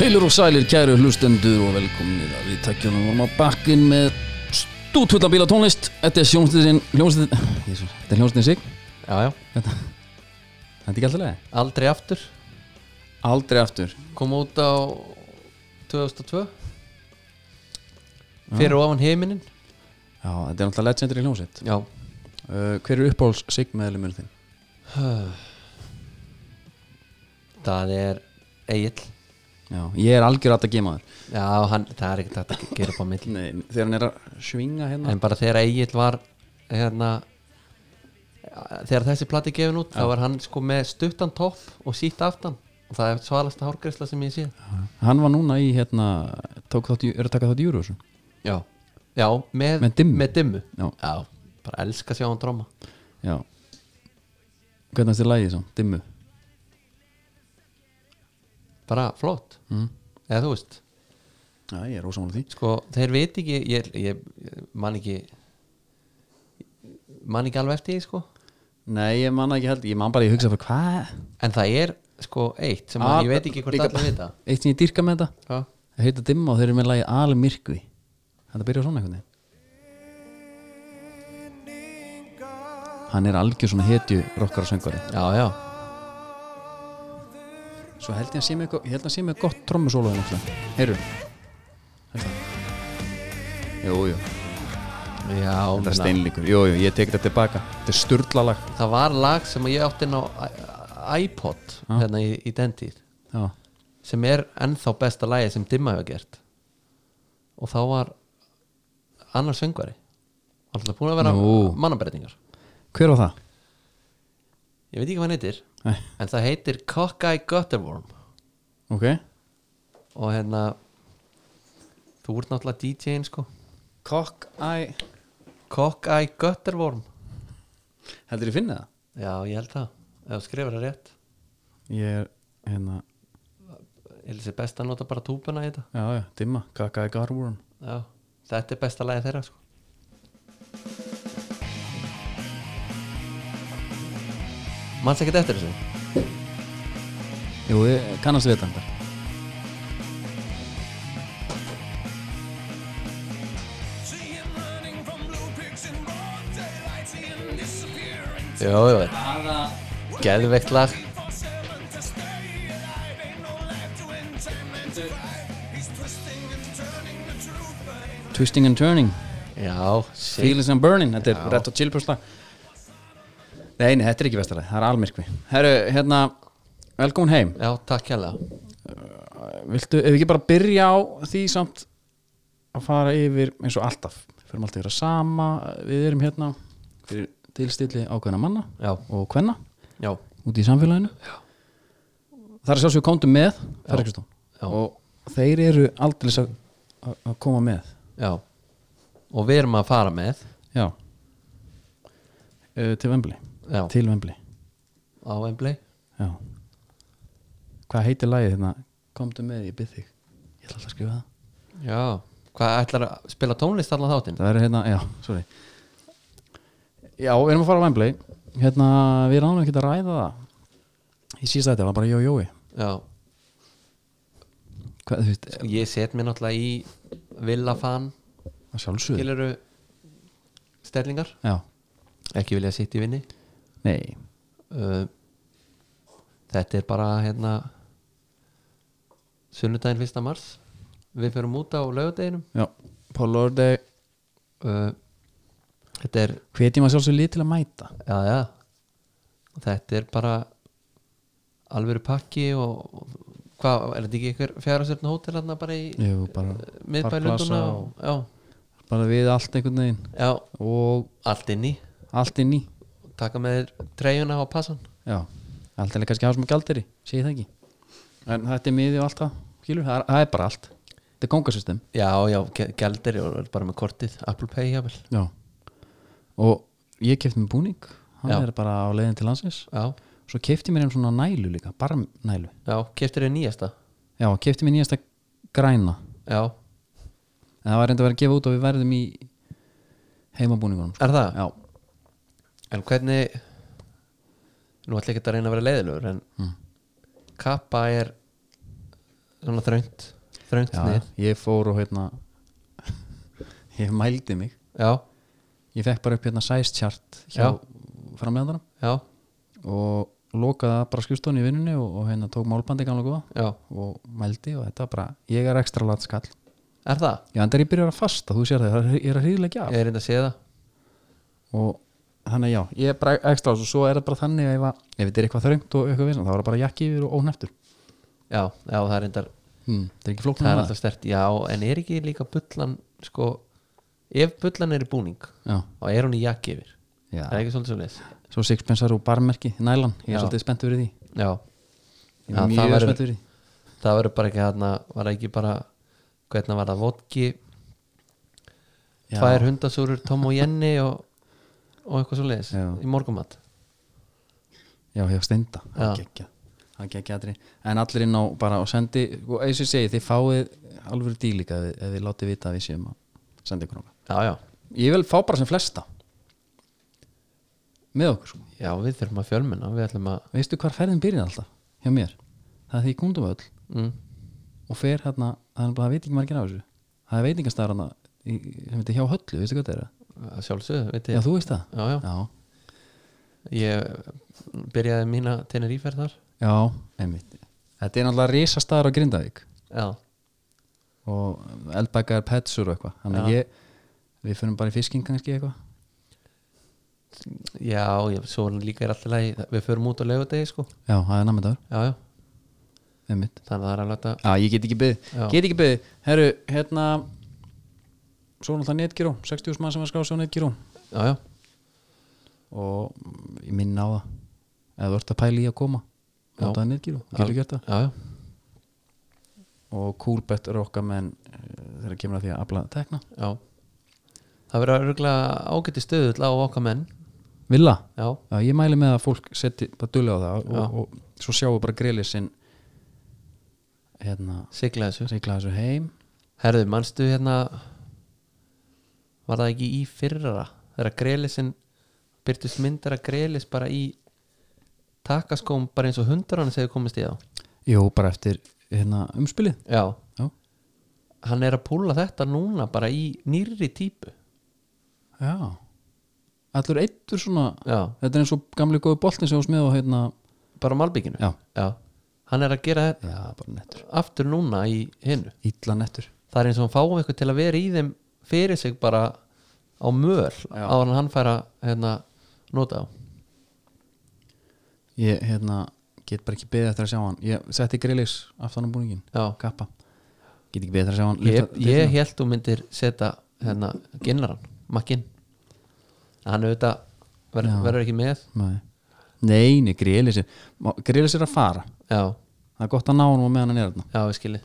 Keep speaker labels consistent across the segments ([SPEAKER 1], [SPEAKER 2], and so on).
[SPEAKER 1] Heilur og sælir, kæru hlustendur og velkomnir að við takkjónum vorum á bakkinn með stútvöldan bíla tónlist Þetta er sjónsniðin, hljónsnið, þetta er hljónsnið sig,
[SPEAKER 2] Já, já,
[SPEAKER 1] þetta er ekki alltaf leið
[SPEAKER 2] aldrei aftur
[SPEAKER 1] Aldrei aftur
[SPEAKER 2] kom út á 2002 fyrir ofan heiminin
[SPEAKER 1] Já, þetta er alltaf legendary hljónsnið uh,
[SPEAKER 2] Já,
[SPEAKER 1] Hver er uppáhalds sig meðlumur þinn?
[SPEAKER 2] það er Egil
[SPEAKER 1] Já, ég er algjör að gemaður
[SPEAKER 2] Já, hann, það er ekkert hægt að gera upp á milli
[SPEAKER 1] Nei, þegar hann er að svinga hérna
[SPEAKER 2] En bara þegar Egil var hérna þegar þessi plati gefin út þá var hann sko með stuttan topp og sítt aftan og það er svalasta hárgreisla sem ég sé
[SPEAKER 1] Hann var núna í hérna, tók þátt, í- er að taka þátt í Eurovision
[SPEAKER 2] Já, já með,
[SPEAKER 1] Með dimmu. Já.
[SPEAKER 2] Já. bara elska að sjá hann dróma
[SPEAKER 1] Já Hvernig er lagið svo? Dimmu
[SPEAKER 2] bara flott
[SPEAKER 1] mm.
[SPEAKER 2] eða þú veist
[SPEAKER 1] Já, ég er ósámála því
[SPEAKER 2] sko, þeir veit ekki ég, ég, ég man ekki man ekki alveg eftir því sko
[SPEAKER 1] Nei, ég manna ekki held, ég man bara, ég hugsa bara, hvað?
[SPEAKER 2] en það er sko eitt sem
[SPEAKER 1] Al-
[SPEAKER 2] ég veit ekki
[SPEAKER 1] Ah,
[SPEAKER 2] hvort
[SPEAKER 1] líka-
[SPEAKER 2] allir vita
[SPEAKER 1] Eitt sem ég dýrka með þetta
[SPEAKER 2] Já.
[SPEAKER 1] Það heita dimma og þeir eru með lagi Almyrkvi Þetta byrjar svona einhvern veginn Hann er algjör svona hetju rokkar og söngari
[SPEAKER 2] já, já,
[SPEAKER 1] Svo held ég að sé með, ég held að sé með gott trommusólu Heyrðu Þetta. Jú, jú,
[SPEAKER 2] já
[SPEAKER 1] þetta er
[SPEAKER 2] na-
[SPEAKER 1] steinlíkur Jú, jú, ég tek þetta tilbaka Þetta er sturlalag
[SPEAKER 2] það var lag sem ég átti inn á i- iPod
[SPEAKER 1] Ah.
[SPEAKER 2] hérna í, í den tíð
[SPEAKER 1] Já,
[SPEAKER 2] sem er ennþá besta lagi sem Dimma hefur gert og þá var annar söngvari alltaf búin að vera
[SPEAKER 1] Nú.
[SPEAKER 2] mannabreitingar
[SPEAKER 1] hver var það?
[SPEAKER 2] ég veit ekki hvað hann heitir
[SPEAKER 1] Nei,
[SPEAKER 2] en það heitir Cockeye Gutterworm
[SPEAKER 1] ok
[SPEAKER 2] og hérna þú ert náttúrulega DJ-in sko
[SPEAKER 1] Cockeye
[SPEAKER 2] Cockeye Gutterworm
[SPEAKER 1] Heldur ég finna það?
[SPEAKER 2] já ég held það, ef þú skrifar það rétt
[SPEAKER 1] Ég er, hérna,
[SPEAKER 2] ég lýsi best að nota bara túpuna í þetta
[SPEAKER 1] já, já, dimma Cockeye Garworm
[SPEAKER 2] já, þetta er besta lagið þeirra sko manns ekkert eftir þessu
[SPEAKER 1] Jú, ég kannast við þetta
[SPEAKER 2] jú, jú, geðveikt lag
[SPEAKER 1] Twisting and Turning,
[SPEAKER 2] já, sí
[SPEAKER 1] Feelings and Burning Þetta er rétt og chillpjósla Nei, nei, þetta er ekki vestalega, það er almyrkvi Herru, hérna, velkomin heim
[SPEAKER 2] já, takk hérlega
[SPEAKER 1] Viltu, ef við ekki bara byrja á því samt að fara yfir eins og alltaf Við fyrir alltaf yfir að sama, við erum hérna fyrir tilstilli ákveðna manna
[SPEAKER 2] já,
[SPEAKER 1] og hvenna
[SPEAKER 2] já,
[SPEAKER 1] úti í samfélaginu Já. Það er sjálfsög komdu með Ferri Kristón
[SPEAKER 2] Já.
[SPEAKER 1] og þeir eru aldrei að að koma með
[SPEAKER 2] já og við erum að fara með
[SPEAKER 1] Já uh, Til Vembli
[SPEAKER 2] já,
[SPEAKER 1] Til Vembli
[SPEAKER 2] á Wembley
[SPEAKER 1] Já Hvað heitir lagið hérna? Komdu með, ég byrð þig Ég ætla alltaf að skrifa það
[SPEAKER 2] Já, hvað ætlar að spila tónlist allan þáttinn?
[SPEAKER 1] Það er hérna, já, sorry Já, við erum að fara á Vembli Hérna, við ránum ekki að ræða það Ég síðast þetta, var bara jó, jói
[SPEAKER 2] Já,
[SPEAKER 1] Hvað, þú veist,
[SPEAKER 2] Sko, ég set mér náttúrulega í villafan,
[SPEAKER 1] að sjálfsögðu
[SPEAKER 2] skiluru stellingar,
[SPEAKER 1] Já,
[SPEAKER 2] ekki vilja sitt í vinni
[SPEAKER 1] nei
[SPEAKER 2] uh, Þetta er bara hérna sunnudaginn 1. mars við förum út á laugardeginum
[SPEAKER 1] Já, Paul Lorde
[SPEAKER 2] uh, Þetta er
[SPEAKER 1] Hvetjum að sjálfsögðu lið til að mæta
[SPEAKER 2] já, já. þetta er bara alvöru pakki og, og hvað, er þetta ekki einhver fjárastjörn hótel hérna bara í
[SPEAKER 1] Jú, bara, Parkplasa
[SPEAKER 2] miðbælunduna
[SPEAKER 1] og-
[SPEAKER 2] já,
[SPEAKER 1] bara við allt einhvern veginn
[SPEAKER 2] já,
[SPEAKER 1] Og
[SPEAKER 2] allt inn í
[SPEAKER 1] allt inn í
[SPEAKER 2] taka með þér treyjuna á passan
[SPEAKER 1] Já, allt er kannski hásum að gjalderi segi það ekki en þetta er miði og allt það, skilur, það er, það er bara allt þetta er kongasystem
[SPEAKER 2] já, já, gældir og bara með kortið Apple Pay jáfnvel
[SPEAKER 1] Já. og ég kefti mér búning hann
[SPEAKER 2] Já.
[SPEAKER 1] er bara á leiðin til landsins
[SPEAKER 2] já,
[SPEAKER 1] svo kefti mér einn svona nælu líka barmnælu,
[SPEAKER 2] já, keftir þér nýjasta
[SPEAKER 1] já, kefti mér nýjasta græna,
[SPEAKER 2] já,
[SPEAKER 1] en það var reynda að vera að gefa út og við verðum í heimabúningunum sko.
[SPEAKER 2] er það?
[SPEAKER 1] Já,
[SPEAKER 2] en hvernig Hmm. nú ætla ekki að reyna að vera leiðilegur en kappa er svona þröngt þröngt
[SPEAKER 1] Já,
[SPEAKER 2] snið
[SPEAKER 1] ég fór og hérna ég mældi mig
[SPEAKER 2] já,
[SPEAKER 1] ég fekk bara upp hérna size chart hjá
[SPEAKER 2] Já.
[SPEAKER 1] framlegandana
[SPEAKER 2] já,
[SPEAKER 1] og lokaði það bara skrifstofni í vinnunni og, og hérna tók málbandi gamla góða
[SPEAKER 2] já,
[SPEAKER 1] og mældi og þetta var bara ég er ekstra landskall
[SPEAKER 2] er það?
[SPEAKER 1] já, en það er ég byrjar að fasta, þú sér það, það er- ég er að hríðlega
[SPEAKER 2] ég er reynd að sé það
[SPEAKER 1] af og þannig að já, ég er bara ekstra og svo er það bara þannig að ef, að, ef þetta er eitthvað þröngt og eitthvað vissan, þá er það bara jakki yfir og óneftur
[SPEAKER 2] já, já, það er reyndar
[SPEAKER 1] mm. það er ekki
[SPEAKER 2] Hmm, það
[SPEAKER 1] flóknar
[SPEAKER 2] er alltaf stert, já, en er ekki líka bullan sko, ef bullan er í búning
[SPEAKER 1] já,
[SPEAKER 2] þá er hún í jakki yfir
[SPEAKER 1] já.
[SPEAKER 2] það er ekki svolítið svolítið
[SPEAKER 1] svo sixpensar og barmerki, nælan ég er
[SPEAKER 2] Já.
[SPEAKER 1] svolítið spennt fyrir því
[SPEAKER 2] já,
[SPEAKER 1] ég
[SPEAKER 2] Já,
[SPEAKER 1] er
[SPEAKER 2] það
[SPEAKER 1] mjög
[SPEAKER 2] verður-
[SPEAKER 1] spennt fyrir því
[SPEAKER 2] það verður bara ekki hérna var ekki bara, hvernig var það vodki,
[SPEAKER 1] Já.
[SPEAKER 2] tvær hundasúrur Tom og Jenny og, og eitthvað svo leiðis
[SPEAKER 1] Já.
[SPEAKER 2] í morgumat
[SPEAKER 1] Já, hjá Steinda, það
[SPEAKER 2] Já.
[SPEAKER 1] gekkja það gekkja aðri, en allir inn á bara og sendi, og eins og ég segi, þið fáið alveg dýlíka ef, ef þið látið vita að við séum að senda ykkur okkar
[SPEAKER 2] já, já,
[SPEAKER 1] Ég vil fá bara sem flesta með okkur, sko
[SPEAKER 2] já, við þurfum að fjölmenna við ætlum að
[SPEAKER 1] Veistu hvar ferðin byrjar alltaf hjá mér? Það er því kundum um öll
[SPEAKER 2] mm,
[SPEAKER 1] og fer hérna, það er bara, það veit ekki margir á þessu það er veitingastæðar hana sem heitir hjá höllu, veistu hvað það er?
[SPEAKER 2] að sjálfsögðu, veit
[SPEAKER 1] Já,
[SPEAKER 2] ég
[SPEAKER 1] þú veist það?
[SPEAKER 2] já, já,
[SPEAKER 1] Já,
[SPEAKER 2] ég byrjaði mína Tenerífer þar
[SPEAKER 1] já, einmitt Þetta er náttúrulega risastæðar á Grindavík
[SPEAKER 2] já,
[SPEAKER 1] og eldbakar petsur og eitthvað þannig að ég, við fyrir bara í fisking kannski eitthvað
[SPEAKER 2] já, ég, svo líka er alltaf lagi, við förum út á laugardegi sko,
[SPEAKER 1] já, það er namndagur,
[SPEAKER 2] já, já
[SPEAKER 1] einmitt
[SPEAKER 2] þannig að það er alveg hægt að
[SPEAKER 1] já, ég get ekki byggð,
[SPEAKER 2] Já.
[SPEAKER 1] get ekki byggð herru, hérna svo náttúrulega netgyró, 60 mann sem var skráð svo netgyró
[SPEAKER 2] já, já,
[SPEAKER 1] og mm, ég minna á það eða þú ert að pæla í að koma
[SPEAKER 2] Já.
[SPEAKER 1] notaði netgyró, þú getur gert það
[SPEAKER 2] já, já,
[SPEAKER 1] og coolbet er okkar menn eh, þegar kemur að því að afla tekna
[SPEAKER 2] já það verður örgulega ágæti stöðull á okkar menn
[SPEAKER 1] Villa,
[SPEAKER 2] já,
[SPEAKER 1] já, ég mæli með að fólk seti bara dulli á það
[SPEAKER 2] Já.
[SPEAKER 1] og, og, svo sjáum við bara grillið sinn hérna
[SPEAKER 2] sigla þessu
[SPEAKER 1] regla þessu heim
[SPEAKER 2] herðu, manstu hérna var það ekki í fyrra þegar grelisin byrtust myndar að grelis bara í takaskóm bara eins og hundar hann segir komist í þá
[SPEAKER 1] Jú, bara eftir hérna, umspilið
[SPEAKER 2] já,
[SPEAKER 1] Já,
[SPEAKER 2] hann er að púla þetta núna bara í nýrri típu
[SPEAKER 1] já. Allur eittur svona
[SPEAKER 2] já,
[SPEAKER 1] Þetta er eins og gamli góði boltin sem hún smið og hérna
[SPEAKER 2] bara á malbygginu
[SPEAKER 1] Já,
[SPEAKER 2] hann er að gera þetta
[SPEAKER 1] já bara nettur
[SPEAKER 2] aftur núna í hinnu
[SPEAKER 1] Ítla nettur
[SPEAKER 2] það er eins og hann fáum eitthvað til að vera í þeim fyrir sig bara á möl
[SPEAKER 1] Já.
[SPEAKER 2] á hann hann fær að hérna, nota á
[SPEAKER 1] Ég hérna, get bara ekki beðið eftir að sjá hann Ég setti grillis aftan á búningin
[SPEAKER 2] Já.
[SPEAKER 1] Kappa Get ekki beðið eftir að sjá hann
[SPEAKER 2] ég,
[SPEAKER 1] lyfta-
[SPEAKER 2] ég
[SPEAKER 1] lyfta.
[SPEAKER 2] held þú myndir setja hérna, ginnaran, makkinn hann auðvitað ver,
[SPEAKER 1] Já.
[SPEAKER 2] verður ekki með
[SPEAKER 1] Nei, nei, nei grillis er má- Grillis er að fara
[SPEAKER 2] já,
[SPEAKER 1] Það er gott að ná hann og með hann er hérna
[SPEAKER 2] já, við skilji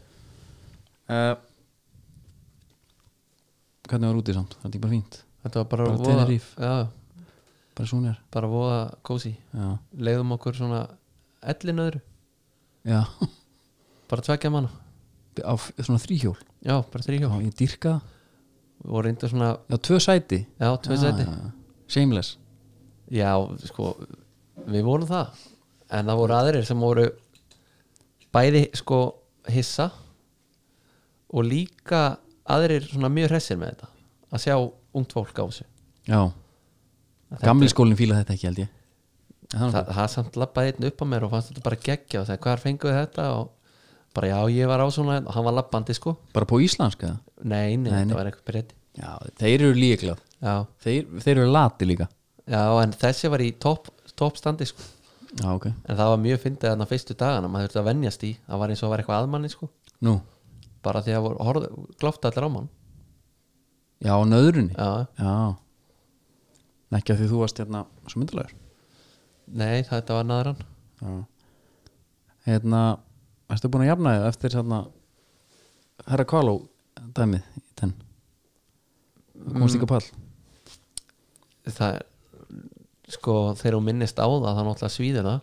[SPEAKER 1] uh, Hvernig var útið samt? Það er ekki bara fínt
[SPEAKER 2] þetta var bara,
[SPEAKER 1] Bara
[SPEAKER 2] voða-
[SPEAKER 1] Tenerife.
[SPEAKER 2] já,
[SPEAKER 1] Bara svona er
[SPEAKER 2] bara voða kósi
[SPEAKER 1] Já,
[SPEAKER 2] leiðum okkur svona ellin öðru,
[SPEAKER 1] já.
[SPEAKER 2] bara tvekja manna
[SPEAKER 1] á f- svona þrýhjól
[SPEAKER 2] já, bara
[SPEAKER 1] já,
[SPEAKER 2] þrýjó
[SPEAKER 1] ég dýrka það.
[SPEAKER 2] og reynda svona,
[SPEAKER 1] já, tvö sæti
[SPEAKER 2] já, tvö
[SPEAKER 1] Já,
[SPEAKER 2] seti
[SPEAKER 1] já, já. shameless
[SPEAKER 2] Já, sko, við vorum það En það voru aðrir sem voru bæði sko hissa og líka aðrir svona mjög hressir með þetta að sjá ungt fólk á þessu
[SPEAKER 1] já, gamli skólinn fíla þetta ekki held ég En það,
[SPEAKER 2] Þa, það samt labbaði einn upp á mér og fannst þetta bara geggja og sagði hvar fenguðu þetta og bara já ég var á svona og hann var labbandi sko
[SPEAKER 1] bara på íslenska
[SPEAKER 2] nei,
[SPEAKER 1] Nei,
[SPEAKER 2] nei,
[SPEAKER 1] nei.
[SPEAKER 2] þetta var eitthvað breyti
[SPEAKER 1] já, þeir eru líklað
[SPEAKER 2] já,
[SPEAKER 1] þeir, þeir eru lati líka
[SPEAKER 2] já, en þessi var í topp top standi sko
[SPEAKER 1] já, ok,
[SPEAKER 2] en það var mjög fyndið þarna fyrstu dagana maður þurfti að venjast í, það var eins og var eitthvað aðmanni sko
[SPEAKER 1] nú
[SPEAKER 2] bara því að voru horfðu, glófti allir á mann
[SPEAKER 1] já, á nöðrunni
[SPEAKER 2] já,
[SPEAKER 1] já ekki að því þú varst hérna svo myndalegur
[SPEAKER 2] nei, þetta var naðran
[SPEAKER 1] já hérna, erstu búin að jafna þig eftir hérna herra Kvaló dæmið í tenn komst ekki á pall
[SPEAKER 2] það er sko, þegar hún minnist á það þá náttúrulega svíður það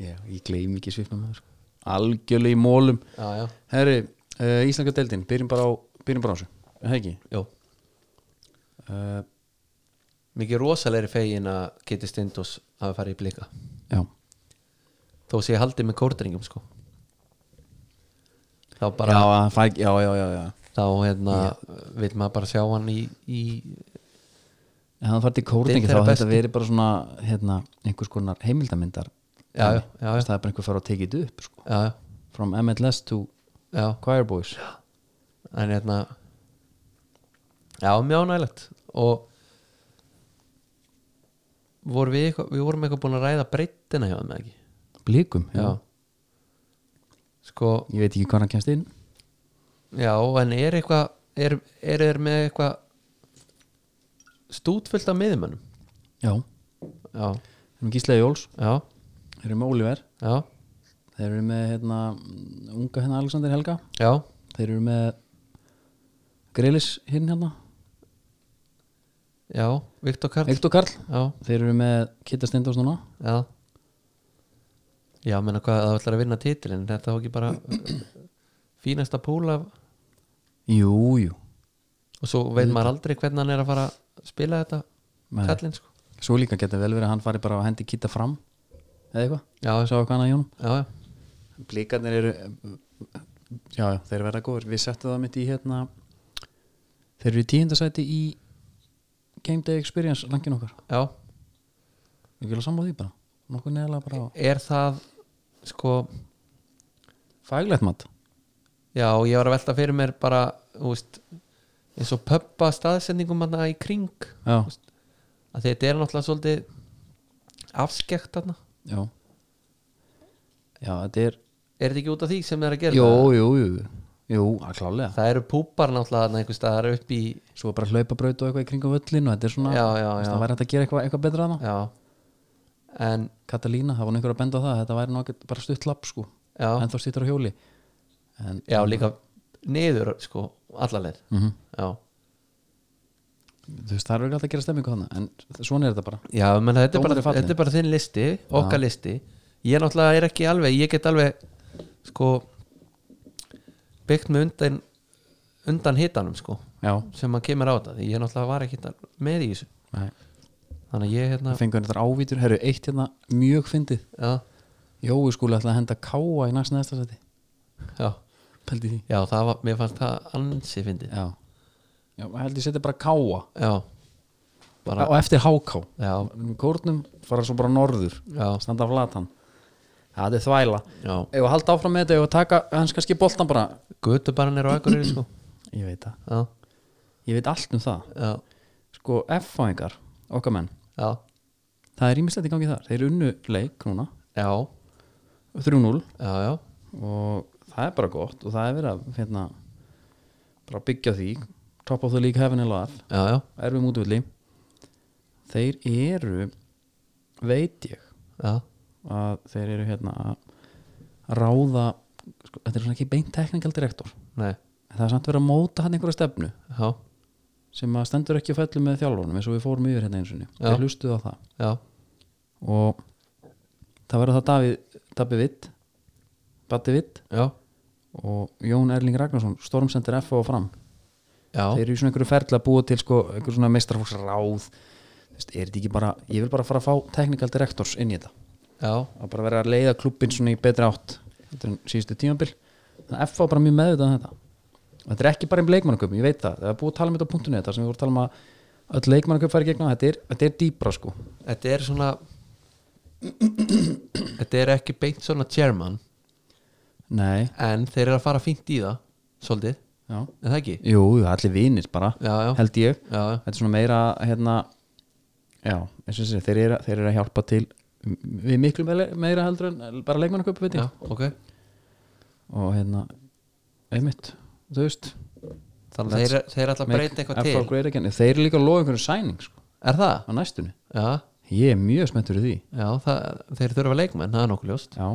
[SPEAKER 1] Já, ég gleym ekki svipna maður sko. Algjörlega í mólum
[SPEAKER 2] já, já,
[SPEAKER 1] Herri, uh, Íslandska deildin, byrjum bara á byrjum bara á þessu, er það ekki
[SPEAKER 2] jú,
[SPEAKER 1] uh,
[SPEAKER 2] mikið rosalegri fegin að Kitty Stindus hafi farið í blika
[SPEAKER 1] Já,
[SPEAKER 2] þó sé ég haldið með kórdringum sko þá bara,
[SPEAKER 1] já, að fæ, já, já, já, já
[SPEAKER 2] þá hérna vil maður bara sjá hann í, í
[SPEAKER 1] En hann farið í kóringi
[SPEAKER 2] Deild
[SPEAKER 1] þá
[SPEAKER 2] þeirra
[SPEAKER 1] hefði
[SPEAKER 2] bestu.
[SPEAKER 1] þetta verið bara svona hérna, einhvers konar heimildamindar
[SPEAKER 2] Já, já, já, já.
[SPEAKER 1] Það er bara einhver fara að tekið þetta upp sko.
[SPEAKER 2] já,
[SPEAKER 1] From MLS to
[SPEAKER 2] já,
[SPEAKER 1] Choir Boys
[SPEAKER 2] en hérna já, mjög ánægilegt og vorum við eitthvað, við vorum eitthvað búin að ræða breyttina hjá þeim eða ekki
[SPEAKER 1] Blíkum, já.
[SPEAKER 2] já sko,
[SPEAKER 1] Ég veit ekki hvað hann kemst inn
[SPEAKER 2] já, en er eitthvað er, er þeir með eitthvað stútfullt af miðumönnum
[SPEAKER 1] Já,
[SPEAKER 2] já,
[SPEAKER 1] þeir eru með Gíslega Jóls
[SPEAKER 2] já,
[SPEAKER 1] Þeir eru með Oliver
[SPEAKER 2] já,
[SPEAKER 1] Þeir eru með hérna, unga hérna Alexander Helga
[SPEAKER 2] já
[SPEAKER 1] Þeir eru með Greilis hinn hérna
[SPEAKER 2] já, Viktor Karl
[SPEAKER 1] Ektor Karl
[SPEAKER 2] já,
[SPEAKER 1] Þeir eru með Kitta Steindós núna
[SPEAKER 2] já já, menna hvað, það ætlar að vinna titilin þetta þá ekki bara fínasta púl af
[SPEAKER 1] Jú, jú
[SPEAKER 2] og svo veit maður aldrei hvernig hann er að fara að spila þetta
[SPEAKER 1] Nei.
[SPEAKER 2] kallinn sko
[SPEAKER 1] Svo líka geta vel verið að hann fari bara að hendi Kitta fram Eða eitthvað
[SPEAKER 2] já,
[SPEAKER 1] Ég sá eitthvað annað í honum
[SPEAKER 2] já, já,
[SPEAKER 1] Blíkarnir eru Já, já, þeir verða góður Við settum það mitt í hérna Þeir eru í tíundasæti í Game Day Experience langin okkar
[SPEAKER 2] já.
[SPEAKER 1] Við viljum samla því bara Nokkuð neðalega bara
[SPEAKER 2] er það sko,
[SPEAKER 1] Fæglegt mat
[SPEAKER 2] já, ég var að velta fyrir mér bara, þú veist eins og pöppa staðsendingum hann í kring
[SPEAKER 1] Já,
[SPEAKER 2] að þetta er náttúrulega svolítið afskekt hann
[SPEAKER 1] já Já, þetta er
[SPEAKER 2] er þetta ekki út af því sem er að gera
[SPEAKER 1] Jú,
[SPEAKER 2] það?
[SPEAKER 1] jú, jú Jú, að klálega
[SPEAKER 2] það eru púpar náttúrulega þarna einhvers staðar upp í
[SPEAKER 1] Svo er bara hlaupabraut og eitthvað í kringum völlin og þetta er svona
[SPEAKER 2] Já, já, já.
[SPEAKER 1] Það væri hægt að gera eitthvað, eitthvað betra hana
[SPEAKER 2] já, en
[SPEAKER 1] Katalína, það var nú einhver að benda á það Þetta væri nú ekkert bara stutt lapp sko
[SPEAKER 2] já,
[SPEAKER 1] En þá stýttur á hjóli en,
[SPEAKER 2] já líka niður sko, allarleir
[SPEAKER 1] mm
[SPEAKER 2] já,
[SPEAKER 1] þú veist, það eru ekki alltaf að gera stemmingu hana en svona er þetta bara
[SPEAKER 2] já menn þetta er,
[SPEAKER 1] Dómar
[SPEAKER 2] bara,
[SPEAKER 1] er fallinn.
[SPEAKER 2] þetta er bara þinn listi okkar listi, ég náttúrulega er ekki alveg ég get alveg sko byggt mig undan undan hitanum sko
[SPEAKER 1] já,
[SPEAKER 2] sem maður kemur á þetta, því ég náttúrulega var ekki þar með í þessu,
[SPEAKER 1] nei,
[SPEAKER 2] þannig að ég hérna
[SPEAKER 1] það fengur þetta ávítur herru, eitt hérna mjög fyndið
[SPEAKER 2] já,
[SPEAKER 1] Jói skúli ætla að henda káa í næst neðsta seti
[SPEAKER 2] já,
[SPEAKER 1] pældi því
[SPEAKER 2] já, það var, mér fannst það ansi fyndið,
[SPEAKER 1] já, já held ég setja bara káa
[SPEAKER 2] já bara,
[SPEAKER 1] og eftir háká
[SPEAKER 2] já,
[SPEAKER 1] Í kórnum fara svo bara norður
[SPEAKER 2] já,
[SPEAKER 1] standa flatan Já, þetta er þvæla
[SPEAKER 2] já
[SPEAKER 1] ef að halda áfram með þetta, ef að taka hans kannski boltan bara
[SPEAKER 2] Götubarinn er á Akureyri sko
[SPEAKER 1] ég veit það,
[SPEAKER 2] Já,
[SPEAKER 1] ég veit allt um það
[SPEAKER 2] já,
[SPEAKER 1] sko, F-fáingar, okkar menn
[SPEAKER 2] já,
[SPEAKER 1] það er ímislegt í gangi þar, þeir unnu leik núna,
[SPEAKER 2] já,
[SPEAKER 1] 3-0
[SPEAKER 2] já, já,
[SPEAKER 1] og það er bara gott og það er verið að hérna, bara byggja á því top of the league heaven and love
[SPEAKER 2] já, já,
[SPEAKER 1] erfum útvöldi þeir eru veit ég
[SPEAKER 2] já,
[SPEAKER 1] að þeir eru hérna að ráða sko, þetta er svona ekki beint teknikal direktor
[SPEAKER 2] nei,
[SPEAKER 1] en það er samt verið að móta hann einhverja stefnu
[SPEAKER 2] já,
[SPEAKER 1] sem að stendur ekki að fellu með þjálfunum eins og við fórum yfir hérna eins og niður
[SPEAKER 2] Já.
[SPEAKER 1] þeir hlustuðu á það
[SPEAKER 2] já,
[SPEAKER 1] og það verður það Davíð Dabbi Vitt Batti Vitt
[SPEAKER 2] já,
[SPEAKER 1] og Jón Erling Ragnarsson stormsendir F og fram
[SPEAKER 2] já,
[SPEAKER 1] þeir eru í svona einhverju ferli að búa til sko, einhverju svona meistarfólksráð Þú veist, er þetta ekki bara, ég vil bara fara að fá technical directors inn í þetta,
[SPEAKER 2] já,
[SPEAKER 1] að bara vera að leiða klubbin svona í betri átt þetta er síðustu tímabil, þannig að F var bara mjög meðvitað um þetta, og þetta er ekki bara um leikmannaköp ég veit það, það er búið að tala um þetta á punktunni þetta sem við vorum að tala um að öll leikmannaköp færi gegna þetta er, þetta er dýbra sko,
[SPEAKER 2] þetta er svona Þetta er ekki beint svona chairman
[SPEAKER 1] nei
[SPEAKER 2] En þeir eru að fara fínt í það, svolítið,
[SPEAKER 1] já,
[SPEAKER 2] er það ekki?
[SPEAKER 1] jú, jú, allir vinir bara
[SPEAKER 2] Já, já,
[SPEAKER 1] held ég,
[SPEAKER 2] já, já,
[SPEAKER 1] þetta er svona meira hérna, já, eins og þessi þeir eru, þeir eru að hjálpa til við miklu meira heldur en bara leikmannaköp veit ég
[SPEAKER 2] já, ok
[SPEAKER 1] og hérna einmitt, þú veist
[SPEAKER 2] Þannig að þeir, þeir ætla að
[SPEAKER 1] make
[SPEAKER 2] breyta eitthvað
[SPEAKER 1] Afro
[SPEAKER 2] til
[SPEAKER 1] great again. þeir eru líka að lofa einhverju sæning sko,
[SPEAKER 2] Er það?
[SPEAKER 1] á næstunni,
[SPEAKER 2] Já,
[SPEAKER 1] ég er mjög spenntur í því
[SPEAKER 2] já, það, þeir þurfa leikmenn, það er nokkuð ljóst
[SPEAKER 1] já,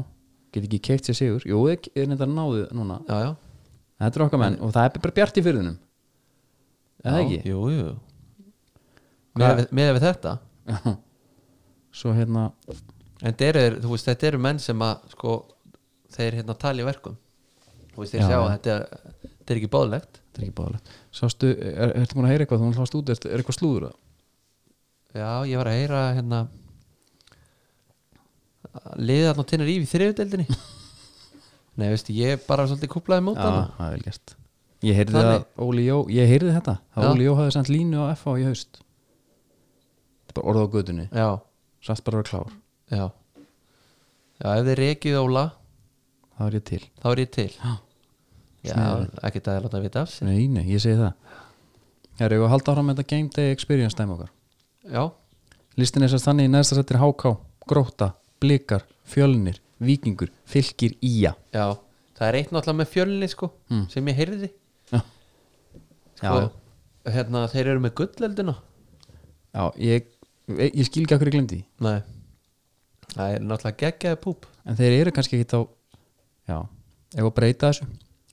[SPEAKER 1] get ekki keikt sér sigur jú, þeir er þetta náðu núna
[SPEAKER 2] Já, já,
[SPEAKER 1] þetta er okkar menn og það er bara bjart í fyrðunum eða
[SPEAKER 2] já,
[SPEAKER 1] ekki
[SPEAKER 2] Jú, jú Með, með við þetta
[SPEAKER 1] Já. svo hérna,
[SPEAKER 2] En þeir eru, þú veist, þetta eru menn sem að sko, þeir hérna tala í verkum Þú veist, þeir
[SPEAKER 1] Já,
[SPEAKER 2] sjá að
[SPEAKER 1] já.
[SPEAKER 2] þetta, þetta er ekki báðlegt
[SPEAKER 1] þetta er ekki báðilegt sástu, er, ertu búin að heyra eitthvað þú náttúrulega út, er, er eitthvað slúður það?
[SPEAKER 2] Já, ég var að heyra hérna liða þarna á tennir í þriðudeldinni Nei, veistu, ég bara svolítið kúplaði mót
[SPEAKER 1] Já,
[SPEAKER 2] hana
[SPEAKER 1] það er vel gert Ég heyrði
[SPEAKER 2] Þannig.
[SPEAKER 1] að Óli Jó, ég heyrði þetta að
[SPEAKER 2] Já.
[SPEAKER 1] Óli Jó hafði sendt línu á FH í haust Þetta er bara orða á gödunni
[SPEAKER 2] Já,
[SPEAKER 1] Satt bara að vera klár,
[SPEAKER 2] já Já, ef þið rekið Óla
[SPEAKER 1] það var ég til
[SPEAKER 2] þá er ég til
[SPEAKER 1] Já.
[SPEAKER 2] Já,
[SPEAKER 1] Sniðugt.
[SPEAKER 2] ekki það að láta vita af sér
[SPEAKER 1] Nei, nei, ég segi það Það er að halda ára með þetta Game Day Experience dæmi okkar
[SPEAKER 2] Já,
[SPEAKER 1] Listin er sérst þannig í næsta settir HK Gróta, Blikar, Fjölnir Víkingur, Fylkir, Ía
[SPEAKER 2] já Það er eitt náttúrulega með fjölni sko
[SPEAKER 1] Hmm.
[SPEAKER 2] sem ég heyrði
[SPEAKER 1] Já,
[SPEAKER 2] sko, Hérna, þeir eru með gulleldina
[SPEAKER 1] já ég, ég, ég skil ekki okkur ég glemdi því.
[SPEAKER 2] Nei Það er náttúrulega geggjaði púp
[SPEAKER 1] En þeir eru kannski ekki þá Já, ef að breyta þessu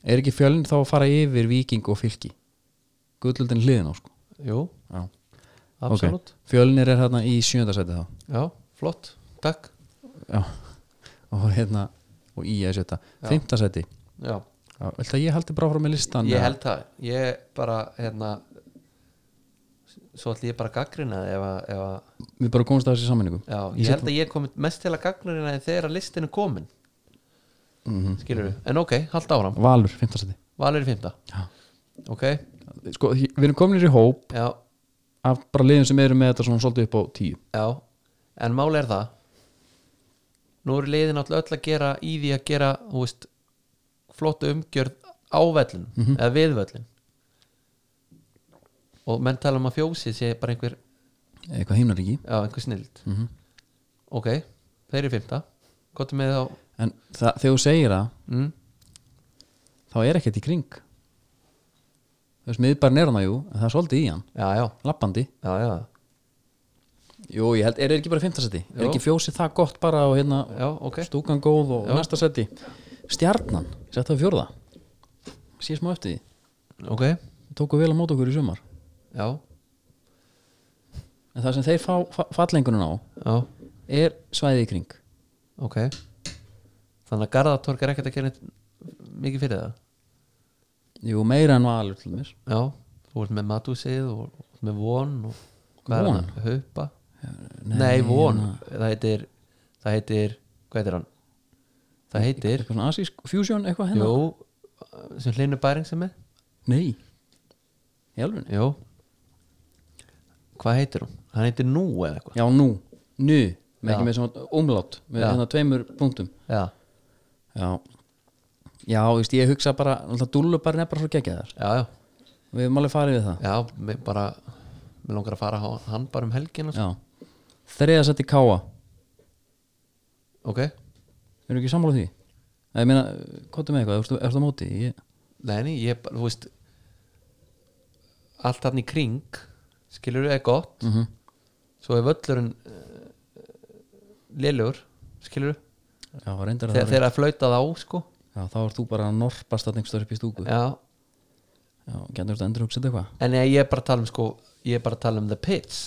[SPEAKER 1] Er ekki fjölnir þá að fara yfir Víking og Fylki Guðlöldin hliðin á sko
[SPEAKER 2] Jú,
[SPEAKER 1] Já,
[SPEAKER 2] absolutt
[SPEAKER 1] ok. Fjölnir er hérna í sjöndasæti þá
[SPEAKER 2] Já, flott, takk
[SPEAKER 1] Já, og hérna Og í að sjötta, fimmtasæti
[SPEAKER 2] Já,
[SPEAKER 1] Já, Viltu að ég haldi bara frá með listan
[SPEAKER 2] ég
[SPEAKER 1] eða?
[SPEAKER 2] held það Ég bara, hérna Svo ætli ég bara að gaggrina ef að, ef að,
[SPEAKER 1] Við bara komumst að þessi sammenningu
[SPEAKER 2] Já, ég held að ég komið mest til að gaggrina þegar að listin er komin mm -hmm. Skilur við, en ok, halda áfram
[SPEAKER 1] Valur, fimmtasæti
[SPEAKER 2] Valur í fymta
[SPEAKER 1] Já.
[SPEAKER 2] Ok,
[SPEAKER 1] Sko, hí- við erum kominir í hóp
[SPEAKER 2] já,
[SPEAKER 1] Af bara liðum sem eru með þetta svona svolítið upp á tíu
[SPEAKER 2] já En máli er það Nú eru liðin alltaf öll að gera í því að gera, þú veist flottu umgjörð á vellin eða við vellin og menn tala um að fjósið sé bara einhver,
[SPEAKER 1] Eitthvað himnaríki
[SPEAKER 2] já, einhver snild ok, þeir eru í fymta gott með þá
[SPEAKER 1] En það, þegar þú segir það
[SPEAKER 2] mm,
[SPEAKER 1] þá er ekkert í kring þú veist, miðbærin er hana jú en það er svolítið í hann,
[SPEAKER 2] já, já,
[SPEAKER 1] lappandi
[SPEAKER 2] já, já,
[SPEAKER 1] jú, ég held, er það ekki bara fimmtasetti er
[SPEAKER 2] Jú.
[SPEAKER 1] ekki fjósið það gott bara og hérna
[SPEAKER 2] já, ok
[SPEAKER 1] stúkan góð og næsta setti stjarnan, ég sett það í fjórða sé smá eftir því,
[SPEAKER 2] ok,
[SPEAKER 1] Þeir tóku vel að móta okkur í sumar
[SPEAKER 2] já,
[SPEAKER 1] en það sem þeir fá fa fallengunum á
[SPEAKER 2] já,
[SPEAKER 1] er svæðið í kring
[SPEAKER 2] ok þannig að Garðatorg er ekkert að gera neitt mikið fyrir það
[SPEAKER 1] jú, meira en valur til mér
[SPEAKER 2] Já, þú ert með matúsið og og ert með von og hvað er
[SPEAKER 1] Von?
[SPEAKER 2] það? Haupa? Nei, von
[SPEAKER 1] hérna,
[SPEAKER 2] það heitir, það heitir hvað heitir hann? Það heitir,
[SPEAKER 1] eitthvað svona asísk fusion eitthvað hérna
[SPEAKER 2] jú sem hlinu bæring sem er,
[SPEAKER 1] nei, í alveg
[SPEAKER 2] jú hvað heitir hún? Hann heitir nú eða eitthvað
[SPEAKER 1] já, nú, nu, með
[SPEAKER 2] Já.
[SPEAKER 1] ekki með svona umlátt með
[SPEAKER 2] Já.
[SPEAKER 1] hérna tveimur punktum
[SPEAKER 2] Já,
[SPEAKER 1] Já Já, þú veist, ég hugsa bara alltaf dúllubarinn er bara svo geggjaðar
[SPEAKER 2] já, já,
[SPEAKER 1] Við erum alveg farið við það
[SPEAKER 2] já mér bara, mér langar að fara á hann bara um helgina sko.
[SPEAKER 1] Já Þriða sett í káa
[SPEAKER 2] ok,
[SPEAKER 1] Erum ekki sammála því? Nei, ég meina, hvað er með eitthvað? Ertu, ertu á móti? Ég,
[SPEAKER 2] neini, ég bara, þú veist allt hann í kring skilur er gott
[SPEAKER 1] mm
[SPEAKER 2] svo er völlurinn uh, lélugur skilur
[SPEAKER 1] Já, var reyndar að
[SPEAKER 2] þegar
[SPEAKER 1] það
[SPEAKER 2] þeir að flauta þá sko
[SPEAKER 1] Já, þá ert þú bara að norpast að einhverstöður upp í stúku Já,
[SPEAKER 2] já.
[SPEAKER 1] Já getur þetta endur hugsað eitthvað
[SPEAKER 2] en ég ég er bara að tala um sko ég er bara að tala um the pits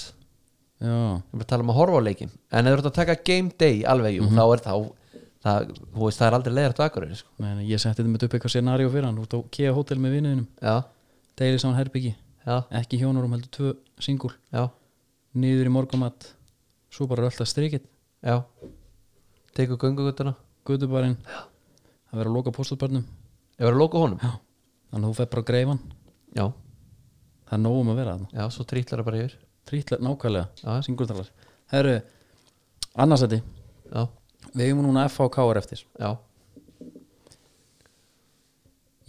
[SPEAKER 1] Já,
[SPEAKER 2] ég er bara að tala um að horfa á leikin en ef þú ert að taka game day alveg jú,
[SPEAKER 1] Mhm.
[SPEAKER 2] þá er þá það, þú veist, það er aldrei leiðrætt á akkurinn sko.
[SPEAKER 1] nei, nei, ég setti þetta með upp eitthvað scenaríu fyrir hann Þú ert á KEA hótel með vinuðinum
[SPEAKER 2] já,
[SPEAKER 1] Deilið saman herbyggi
[SPEAKER 2] já,
[SPEAKER 1] Ekki hjónurum, heldur tvö singul
[SPEAKER 2] já,
[SPEAKER 1] Niður í morgumat Svo bara rölda strikið
[SPEAKER 2] já tekur göngugutuna
[SPEAKER 1] Guðubarinn Það verður að loka postulbarnum
[SPEAKER 2] ég var að loka honum
[SPEAKER 1] Já, þannig að þú fer bara að greifan
[SPEAKER 2] já,
[SPEAKER 1] Það er nógum að vera þarna
[SPEAKER 2] já, svo trítlar það bara yfir
[SPEAKER 1] Trítlar nákvæmlega,
[SPEAKER 2] Já.
[SPEAKER 1] singultalar Herru, annarsæti
[SPEAKER 2] já,
[SPEAKER 1] Við eigum núna F og K er eftir
[SPEAKER 2] já,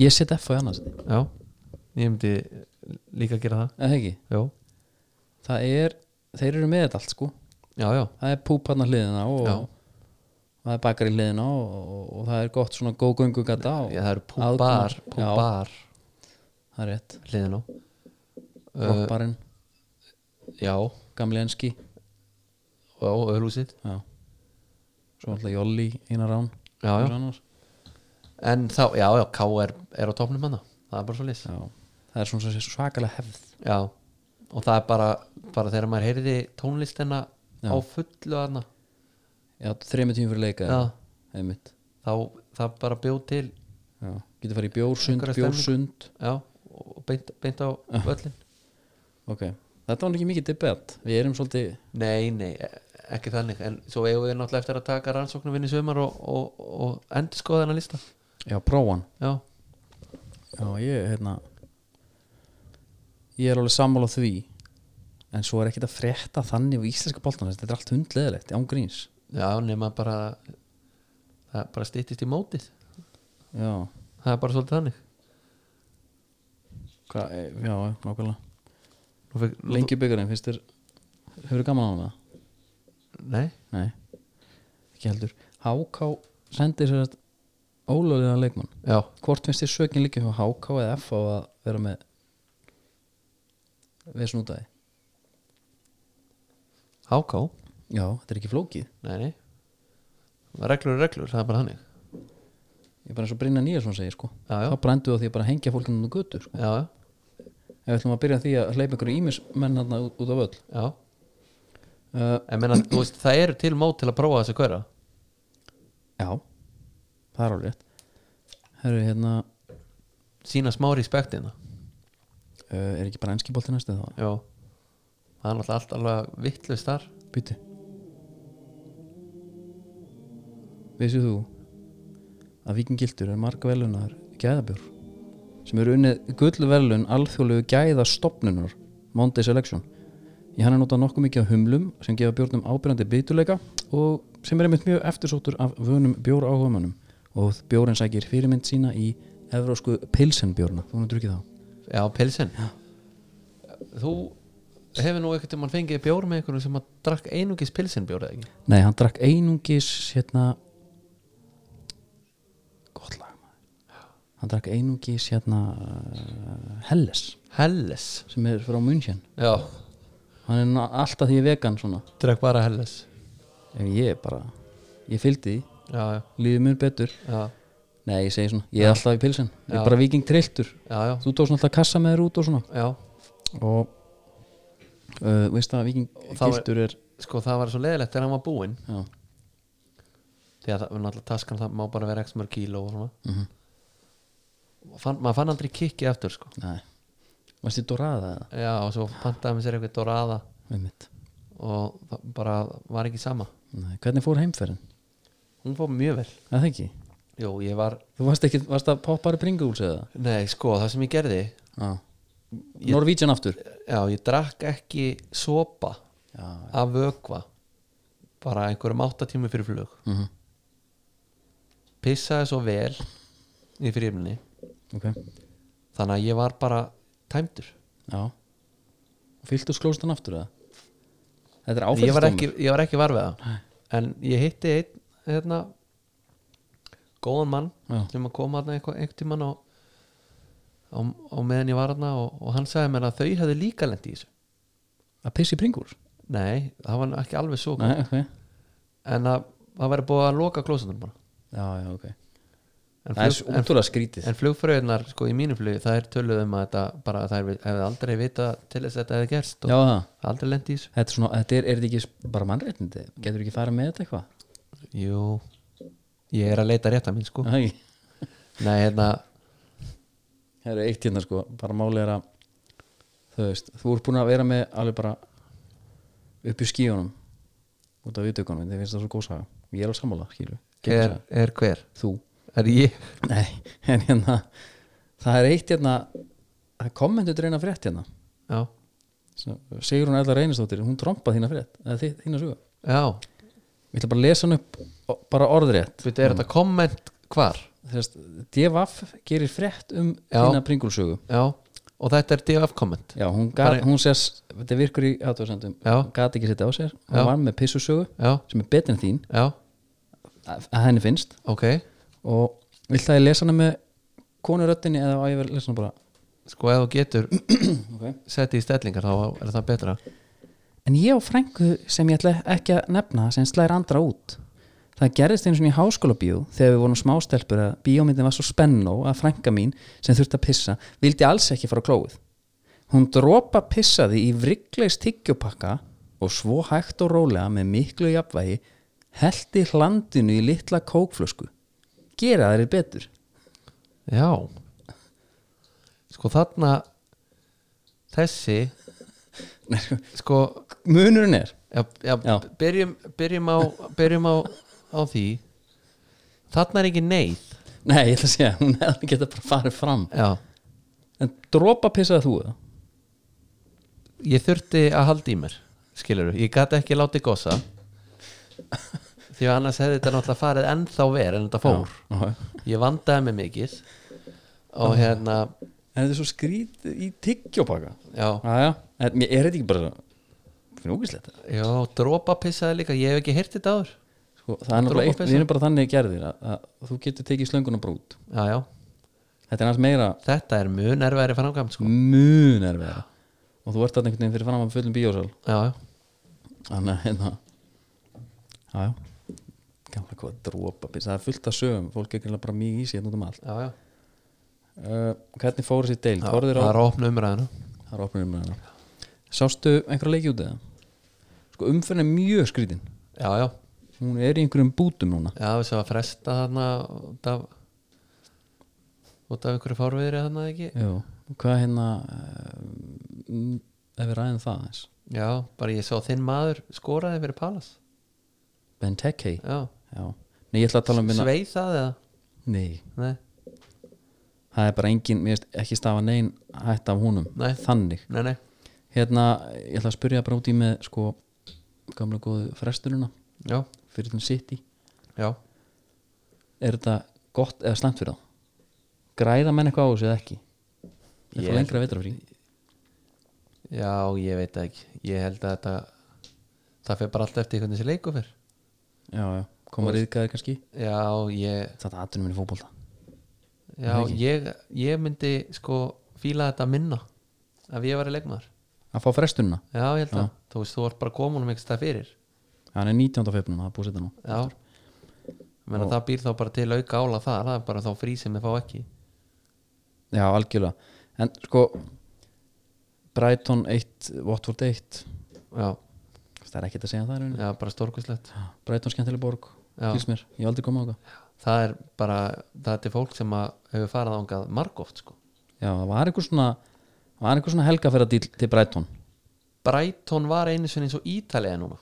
[SPEAKER 1] Ég set F á annarsæti
[SPEAKER 2] já ég myndi líka að gera það
[SPEAKER 1] Eða ekki,
[SPEAKER 2] já,
[SPEAKER 1] það er Þeir eru með þetta allt sko
[SPEAKER 2] já, já,
[SPEAKER 1] Það er púp hann hliðina og
[SPEAKER 2] Já.
[SPEAKER 1] Það er bakar í hliðina og, og, og það er gott svona góð göngu gata og
[SPEAKER 2] Já, það eru
[SPEAKER 1] aðkomu-
[SPEAKER 2] púbar
[SPEAKER 1] Já,
[SPEAKER 2] púbar
[SPEAKER 1] það er rétt
[SPEAKER 2] hliðin á uh,
[SPEAKER 1] Ropparinn,
[SPEAKER 2] já, og
[SPEAKER 1] gamli enski
[SPEAKER 2] öðlúsið
[SPEAKER 1] Já Svo alltaf Jolli, Einar Rán
[SPEAKER 2] Já, já.
[SPEAKER 1] og svo annars.
[SPEAKER 2] en þá, já, já, K er, er á topnum hann það er bara svo lýs já.
[SPEAKER 1] Já. Það er svona svakalega hefð
[SPEAKER 2] og það er bara, bara þegar maður heyrði tónlistina
[SPEAKER 1] Já.
[SPEAKER 2] á fullu hann
[SPEAKER 1] Já, þreymur tíum fyrir leika
[SPEAKER 2] Já.
[SPEAKER 1] einmitt
[SPEAKER 2] þá það bara bjóð til
[SPEAKER 1] Já. Getur farið í bjórsund,
[SPEAKER 2] Einhverja stemningu.
[SPEAKER 1] bjórsund
[SPEAKER 2] já, og beint, beint á völlin
[SPEAKER 1] Ok, þetta var nú ekki mikið debett Við erum svolítið
[SPEAKER 2] nei, nei, e- ekki þannig en svo eigum við náttúrulega eftir að taka rannsóknarvinni sömar og, og, og endur skoða þennan lista
[SPEAKER 1] já, prófan
[SPEAKER 2] já,
[SPEAKER 1] já, ég, hérna ég er alveg sammála því en svo er ekkert að frétta þannig á íslenska boltan þetta er allt hundleðilegt, án gríns
[SPEAKER 2] já nema bara það bara styttist í mótið
[SPEAKER 1] já,
[SPEAKER 2] það er bara svolítið þannig
[SPEAKER 1] Hva, e, já, nákvæmlega
[SPEAKER 2] Nú fekk, nú-
[SPEAKER 1] lengi byggarinn, finnst þér hefur gaman á hana?
[SPEAKER 2] nei,
[SPEAKER 1] Nei, ekki heldur HK sendir sér ólöðlega leikmann
[SPEAKER 2] já,
[SPEAKER 1] hvort finnst þér sökin líka hjá HK eða F á að vera með við snútaði
[SPEAKER 2] háká
[SPEAKER 1] já, þetta er ekki flókið
[SPEAKER 2] nei, nei reglur er reglur, það er bara þannig
[SPEAKER 1] ég er bara eins og Brynja Nýjarsson segir sko
[SPEAKER 2] Já, já.
[SPEAKER 1] þá brændu á því að bara hengja fólkinu á götu sko.
[SPEAKER 2] já, já,
[SPEAKER 1] ef við ætlum að byrja á því að hleypa einhverju ímismenn hérna út, út af öll
[SPEAKER 2] já
[SPEAKER 1] uh,
[SPEAKER 2] en meina, þú veist, það eru til mót til að prófa þessi hverja
[SPEAKER 1] já, það er alveg rétt herru hérna
[SPEAKER 2] sína smá respektina
[SPEAKER 1] uh, er ekki bara enski bolti næstu þá
[SPEAKER 2] já, það er náttúrulega allt alveg vittlust þar
[SPEAKER 1] býtu vissið þú að vikingildur er marga velunar gæðabjór sem eru unnið gullverlun alþjóðlegu gæðastofnunar Monday Selection í hann er notað nokkuð mikið af humlum sem gefa bjórnum ábyrjandi bituleika og sem er einmitt mjög eftirsóttur af vönum bjór áhugamönnum og bjórin sækir fyrirmynd sína í evrósku pilsenbjórna, þú hann drukkið þá
[SPEAKER 2] já, pilsin þú hefur nú einhvern tímann fengið bjór með einhvern sem að drakk einungis pilsin bjór eða ekki
[SPEAKER 1] Nei, hann drakk einungis hérna gott lag maður hann drakk einungis hérna uh, Helles
[SPEAKER 2] Helles,
[SPEAKER 1] sem er frá München
[SPEAKER 2] já,
[SPEAKER 1] hann er nú alltaf því vegan svona
[SPEAKER 2] drakk bara Helles
[SPEAKER 1] en ég er bara, ég fylgdi því
[SPEAKER 2] já, já,
[SPEAKER 1] lífið mjög betur,
[SPEAKER 2] já,
[SPEAKER 1] nei ég segi svona ég er alltaf í pilsin, ég
[SPEAKER 2] Já.
[SPEAKER 1] er bara viking trilltur
[SPEAKER 2] já, já,
[SPEAKER 1] þú tókst alltaf kassa með þér út og svona
[SPEAKER 2] já.
[SPEAKER 1] og uh, veist það að
[SPEAKER 2] Og
[SPEAKER 1] viking
[SPEAKER 2] þá er-
[SPEAKER 1] gildur er
[SPEAKER 2] sko það var svo leðilegt þegar hann var búinn
[SPEAKER 1] já,
[SPEAKER 2] því að það, náttúrulega taskan það má bara vera x mörg kíló og svona
[SPEAKER 1] mhm,
[SPEAKER 2] Og fann, maður fann aldrei kikkið eftir sko
[SPEAKER 1] nei varst þið doraða eða?
[SPEAKER 2] já, og svo pantaði með sér eitthvað dorada
[SPEAKER 1] Einmitt.
[SPEAKER 2] og það bara var ekki sama
[SPEAKER 1] Nei, hvernig fór heimferðin?
[SPEAKER 2] hún fór mjög vel
[SPEAKER 1] Er Það ekki?
[SPEAKER 2] Jú, ég var,
[SPEAKER 1] Þú varst ekki, varst að poppa upp ringuhúls eða?
[SPEAKER 2] nei sko, það sem ég gerði
[SPEAKER 1] Já Norvíðjan aftur
[SPEAKER 2] Já, ég drakk ekki sopa
[SPEAKER 1] Já,
[SPEAKER 2] af vökva bara einhverjum átta tími fyrir flug
[SPEAKER 1] mm -hmm.
[SPEAKER 2] pissaði svo vel í fyrirminni
[SPEAKER 1] ok
[SPEAKER 2] þannig að ég var bara tæmdur
[SPEAKER 1] Já Fylgtu sklóstan aftur eða? Þetta er
[SPEAKER 2] ég var,
[SPEAKER 1] áfællstómur
[SPEAKER 2] ekki, ég var ekki var við það
[SPEAKER 1] Nei.
[SPEAKER 2] en ég hitti einn hérna, góðan mann
[SPEAKER 1] Já.
[SPEAKER 2] sem að koma þarna einhver, einhvern tímann og, og, og meðan ég var þarna og, og hann sagði mér að þau hefðu líka lent í þessu
[SPEAKER 1] Að pissi pringur?
[SPEAKER 2] nei, það var nú ekki alveg svo gott
[SPEAKER 1] Nei, ok
[SPEAKER 2] en að það væri búið að loka klósetunum bara
[SPEAKER 1] Já, já, ok
[SPEAKER 2] en,
[SPEAKER 1] Það er
[SPEAKER 2] flug,
[SPEAKER 1] svo útrúlega skrítið
[SPEAKER 2] En flugfröðunar, sko, í mínu flug það er töluðum að þetta bara, það er, hefði aldrei vita til þess að þetta hefði gerst og
[SPEAKER 1] Já, það
[SPEAKER 2] aldrei lendi í þessu
[SPEAKER 1] Þetta er svona, þetta er, er þetta ekki bara mannréttindi? Getur ekki farið með þetta eitthvað?
[SPEAKER 2] Jú, ég er að leita rétt að mín, sko
[SPEAKER 1] Æ,
[SPEAKER 2] Nei, hérna,
[SPEAKER 1] það eru eitt hérna sko Bara máli er að Þú veist, þú ert búin að vera með alveg bara upp í skíunum út af viðtökunum, þið finnst það svo góð saga ég er á sammála, skilu
[SPEAKER 2] er, er hver?
[SPEAKER 1] þú
[SPEAKER 2] Er ég?
[SPEAKER 1] Nei, en hérna það er eitt hérna það er kommentur reyna frétt hérna
[SPEAKER 2] Já,
[SPEAKER 1] segur hún allar reynistóttir, hún trompa þína frétt eða þi- þína sögu
[SPEAKER 2] já,
[SPEAKER 1] Ég ætla bara að lesa hann upp, o- bara orðrétt
[SPEAKER 2] veitir, er þetta komment hvar?
[SPEAKER 1] Þess, DVF gerir frétt um
[SPEAKER 2] Já.
[SPEAKER 1] þína pringulsögu
[SPEAKER 2] Já, og þetta er DF komment
[SPEAKER 1] Já, hún,
[SPEAKER 2] Bara-
[SPEAKER 1] gat, hún sés, þetta virkur í aðtöðsendum
[SPEAKER 2] Já.
[SPEAKER 1] gat ekki setja á sér, hún
[SPEAKER 2] Já.
[SPEAKER 1] var með pissusögu
[SPEAKER 2] Já,
[SPEAKER 1] sem er betri en þín,
[SPEAKER 2] já,
[SPEAKER 1] að að henni finnst
[SPEAKER 2] ok
[SPEAKER 1] og vill það ég lesa hana með konuröttinni eða á ég verið að lesa hana bara
[SPEAKER 2] Sko, ef þú getur
[SPEAKER 1] okay.
[SPEAKER 2] setti í stellingar, þá er það betra
[SPEAKER 1] En ég og frængu sem ég ætla ekki að nefna sem slæðir andra út. Það gerðist einu svona í háskóla bíó þegar við vorum smástelpur að bíómyndin var svo spennó að frænga mín sem þurfti að pissa vildi alls ekki fara á klóið. Hún dropa pissaði í vrikleis tyggjopakka og svo hægt og rólega með miklu jafnvægi heldi hlandinu í litla kókflösku. Gera þeir betur.
[SPEAKER 2] Já Sko þarna Þessi
[SPEAKER 1] Nei, sko,
[SPEAKER 2] Sko
[SPEAKER 1] Munurinn er.
[SPEAKER 2] já, já,
[SPEAKER 1] Já.
[SPEAKER 2] Byrjum, byrjum, á, byrjum á, á því Þarna er ekki neyð
[SPEAKER 1] Nei, ég ætla að segja, hún hefði geta bara farið fram
[SPEAKER 2] já,
[SPEAKER 1] En dropa pissaði þú það?
[SPEAKER 2] ég þurfti að halda í mér skilur ég gat ekki látið gossa því að annars hefði þetta náttúrulega farið ennþá ver en þetta fór
[SPEAKER 1] Já. Ah.
[SPEAKER 2] ég vandaði mig mikið og hérna
[SPEAKER 1] En þetta er svo skrítið í tyggjópaka
[SPEAKER 2] já,
[SPEAKER 1] Jæja, en mér er þetta ekki bara Fnúkislegt
[SPEAKER 2] já, dropa pissaði líka ég hef ekki heyrt þetta áður
[SPEAKER 1] sko, Það er náttúrulega eitt,
[SPEAKER 2] Dropapissa?
[SPEAKER 1] við erum bara þannig gerðir að, að þú getur tekið slönguna bara út
[SPEAKER 2] já, já,
[SPEAKER 1] Þetta er aðeins meira
[SPEAKER 2] þetta er mjög nerværi framkvæmt
[SPEAKER 1] Mm.
[SPEAKER 2] sko.
[SPEAKER 1] mun erfiðara og þú ert þarna einhvern veginn fyrir fram að fullum bíósal
[SPEAKER 2] já, já,
[SPEAKER 1] þannig að hérna jájá gamla hvað dropa það er fullt af sögum, fólk er ekki bara mjög í sér út um allt
[SPEAKER 2] já, já.
[SPEAKER 1] uh, hvernig fóru sér deild,
[SPEAKER 2] Já,
[SPEAKER 1] horfður á
[SPEAKER 2] það er að opna umræðina
[SPEAKER 1] það er opnum með hana sástu einhverja leiki út eða sko umferðin er mjög skrítin
[SPEAKER 2] já, já,
[SPEAKER 1] hún er í einhverjum bútum núna
[SPEAKER 2] já, við sem að fresta þarna út af út af einhverju fárviðri þarna ekki
[SPEAKER 1] Jú. hvað hérna uh, ef við ræðum það eins
[SPEAKER 2] já, bara ég sá þinn maður skoraði fyrir Palas
[SPEAKER 1] Ben Tekkei
[SPEAKER 2] já,
[SPEAKER 1] já, nei ég ætla að tala um minna
[SPEAKER 2] sveið það eða
[SPEAKER 1] nei,
[SPEAKER 2] nei,
[SPEAKER 1] það er bara engin, mér finnst ekki stafa nein hætt af húnum,
[SPEAKER 2] Nei.
[SPEAKER 1] þannig
[SPEAKER 2] nei, nei,
[SPEAKER 1] hérna, ég ætla að spyrja bara út í með sko, gamla góðu frestununa
[SPEAKER 2] já,
[SPEAKER 1] fyrir þann sitt í
[SPEAKER 2] já
[SPEAKER 1] er þetta gott eða slæmt fyrir það græða menn eitthvað á þessu eða ekki eitthvað
[SPEAKER 2] Ég-
[SPEAKER 1] lengra veitra frí
[SPEAKER 2] já, ég veit það ekki ég held að þetta það fyrir bara alltaf eftir hvernig þessi leiku fyrr
[SPEAKER 1] já, já, koma riðgæðir kannski
[SPEAKER 2] já, ég
[SPEAKER 1] þetta er aðtunum minni fótbolta
[SPEAKER 2] já, ég, ég myndi sko fíla þetta minna ef ég var í leikmaður
[SPEAKER 1] að fá frestununa,
[SPEAKER 2] já, ég held að, þú veist, þú ert bara komunum ekki stað fyrir
[SPEAKER 1] hann er 19. februnar það er búið að setja nú
[SPEAKER 2] Já Ég meina, það býr þá bara til auka ála þar það er bara þá frí sem við fá ekki
[SPEAKER 1] já, algjörlega, en sko Brighton 1 Watford 1,
[SPEAKER 2] Já,
[SPEAKER 1] það er ekkert að segja það í rauninni.
[SPEAKER 2] já bara stórkuslegt
[SPEAKER 1] Brighton skemmtileg borg,
[SPEAKER 2] Já.
[SPEAKER 1] fylgst mér ég hef aldrei komið á það
[SPEAKER 2] Það er bara, það er til fólk sem að hefur farið ángað margóft sko
[SPEAKER 1] Já, það var einhver svona það var einhver svona helgafæra díl til Brighton
[SPEAKER 2] Brighton var einu sinni eins og Ítalija núna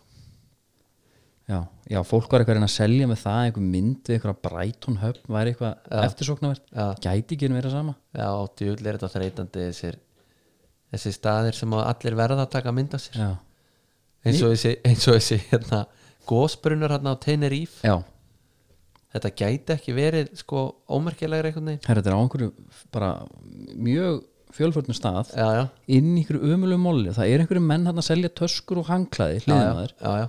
[SPEAKER 1] já, já, fólk var eitthvað að reyna að selja með það einhver mynd við einhverja Brighton höfn væri eitthvað eftirsóknarvert
[SPEAKER 2] Já.
[SPEAKER 1] gæti ekki verið sama
[SPEAKER 2] Já, djúll er þetta þreytandi þessir, þessir staðir sem að allir verða að taka mynd af sér
[SPEAKER 1] já,
[SPEAKER 2] eins og þessi, eins og þessi hérna, gósbrunnur hérna á Tenerife
[SPEAKER 1] já
[SPEAKER 2] Þetta gæti ekki verið sko ómerkilegra einhvern veginn
[SPEAKER 1] herra, þetta er á einhverju bara mjög fjölförnum stað
[SPEAKER 2] Já, já,
[SPEAKER 1] inn í einhverju umulum molli það er einhverju menn hann að selja töskur og hangklæði hliðum að þér,
[SPEAKER 2] já, já.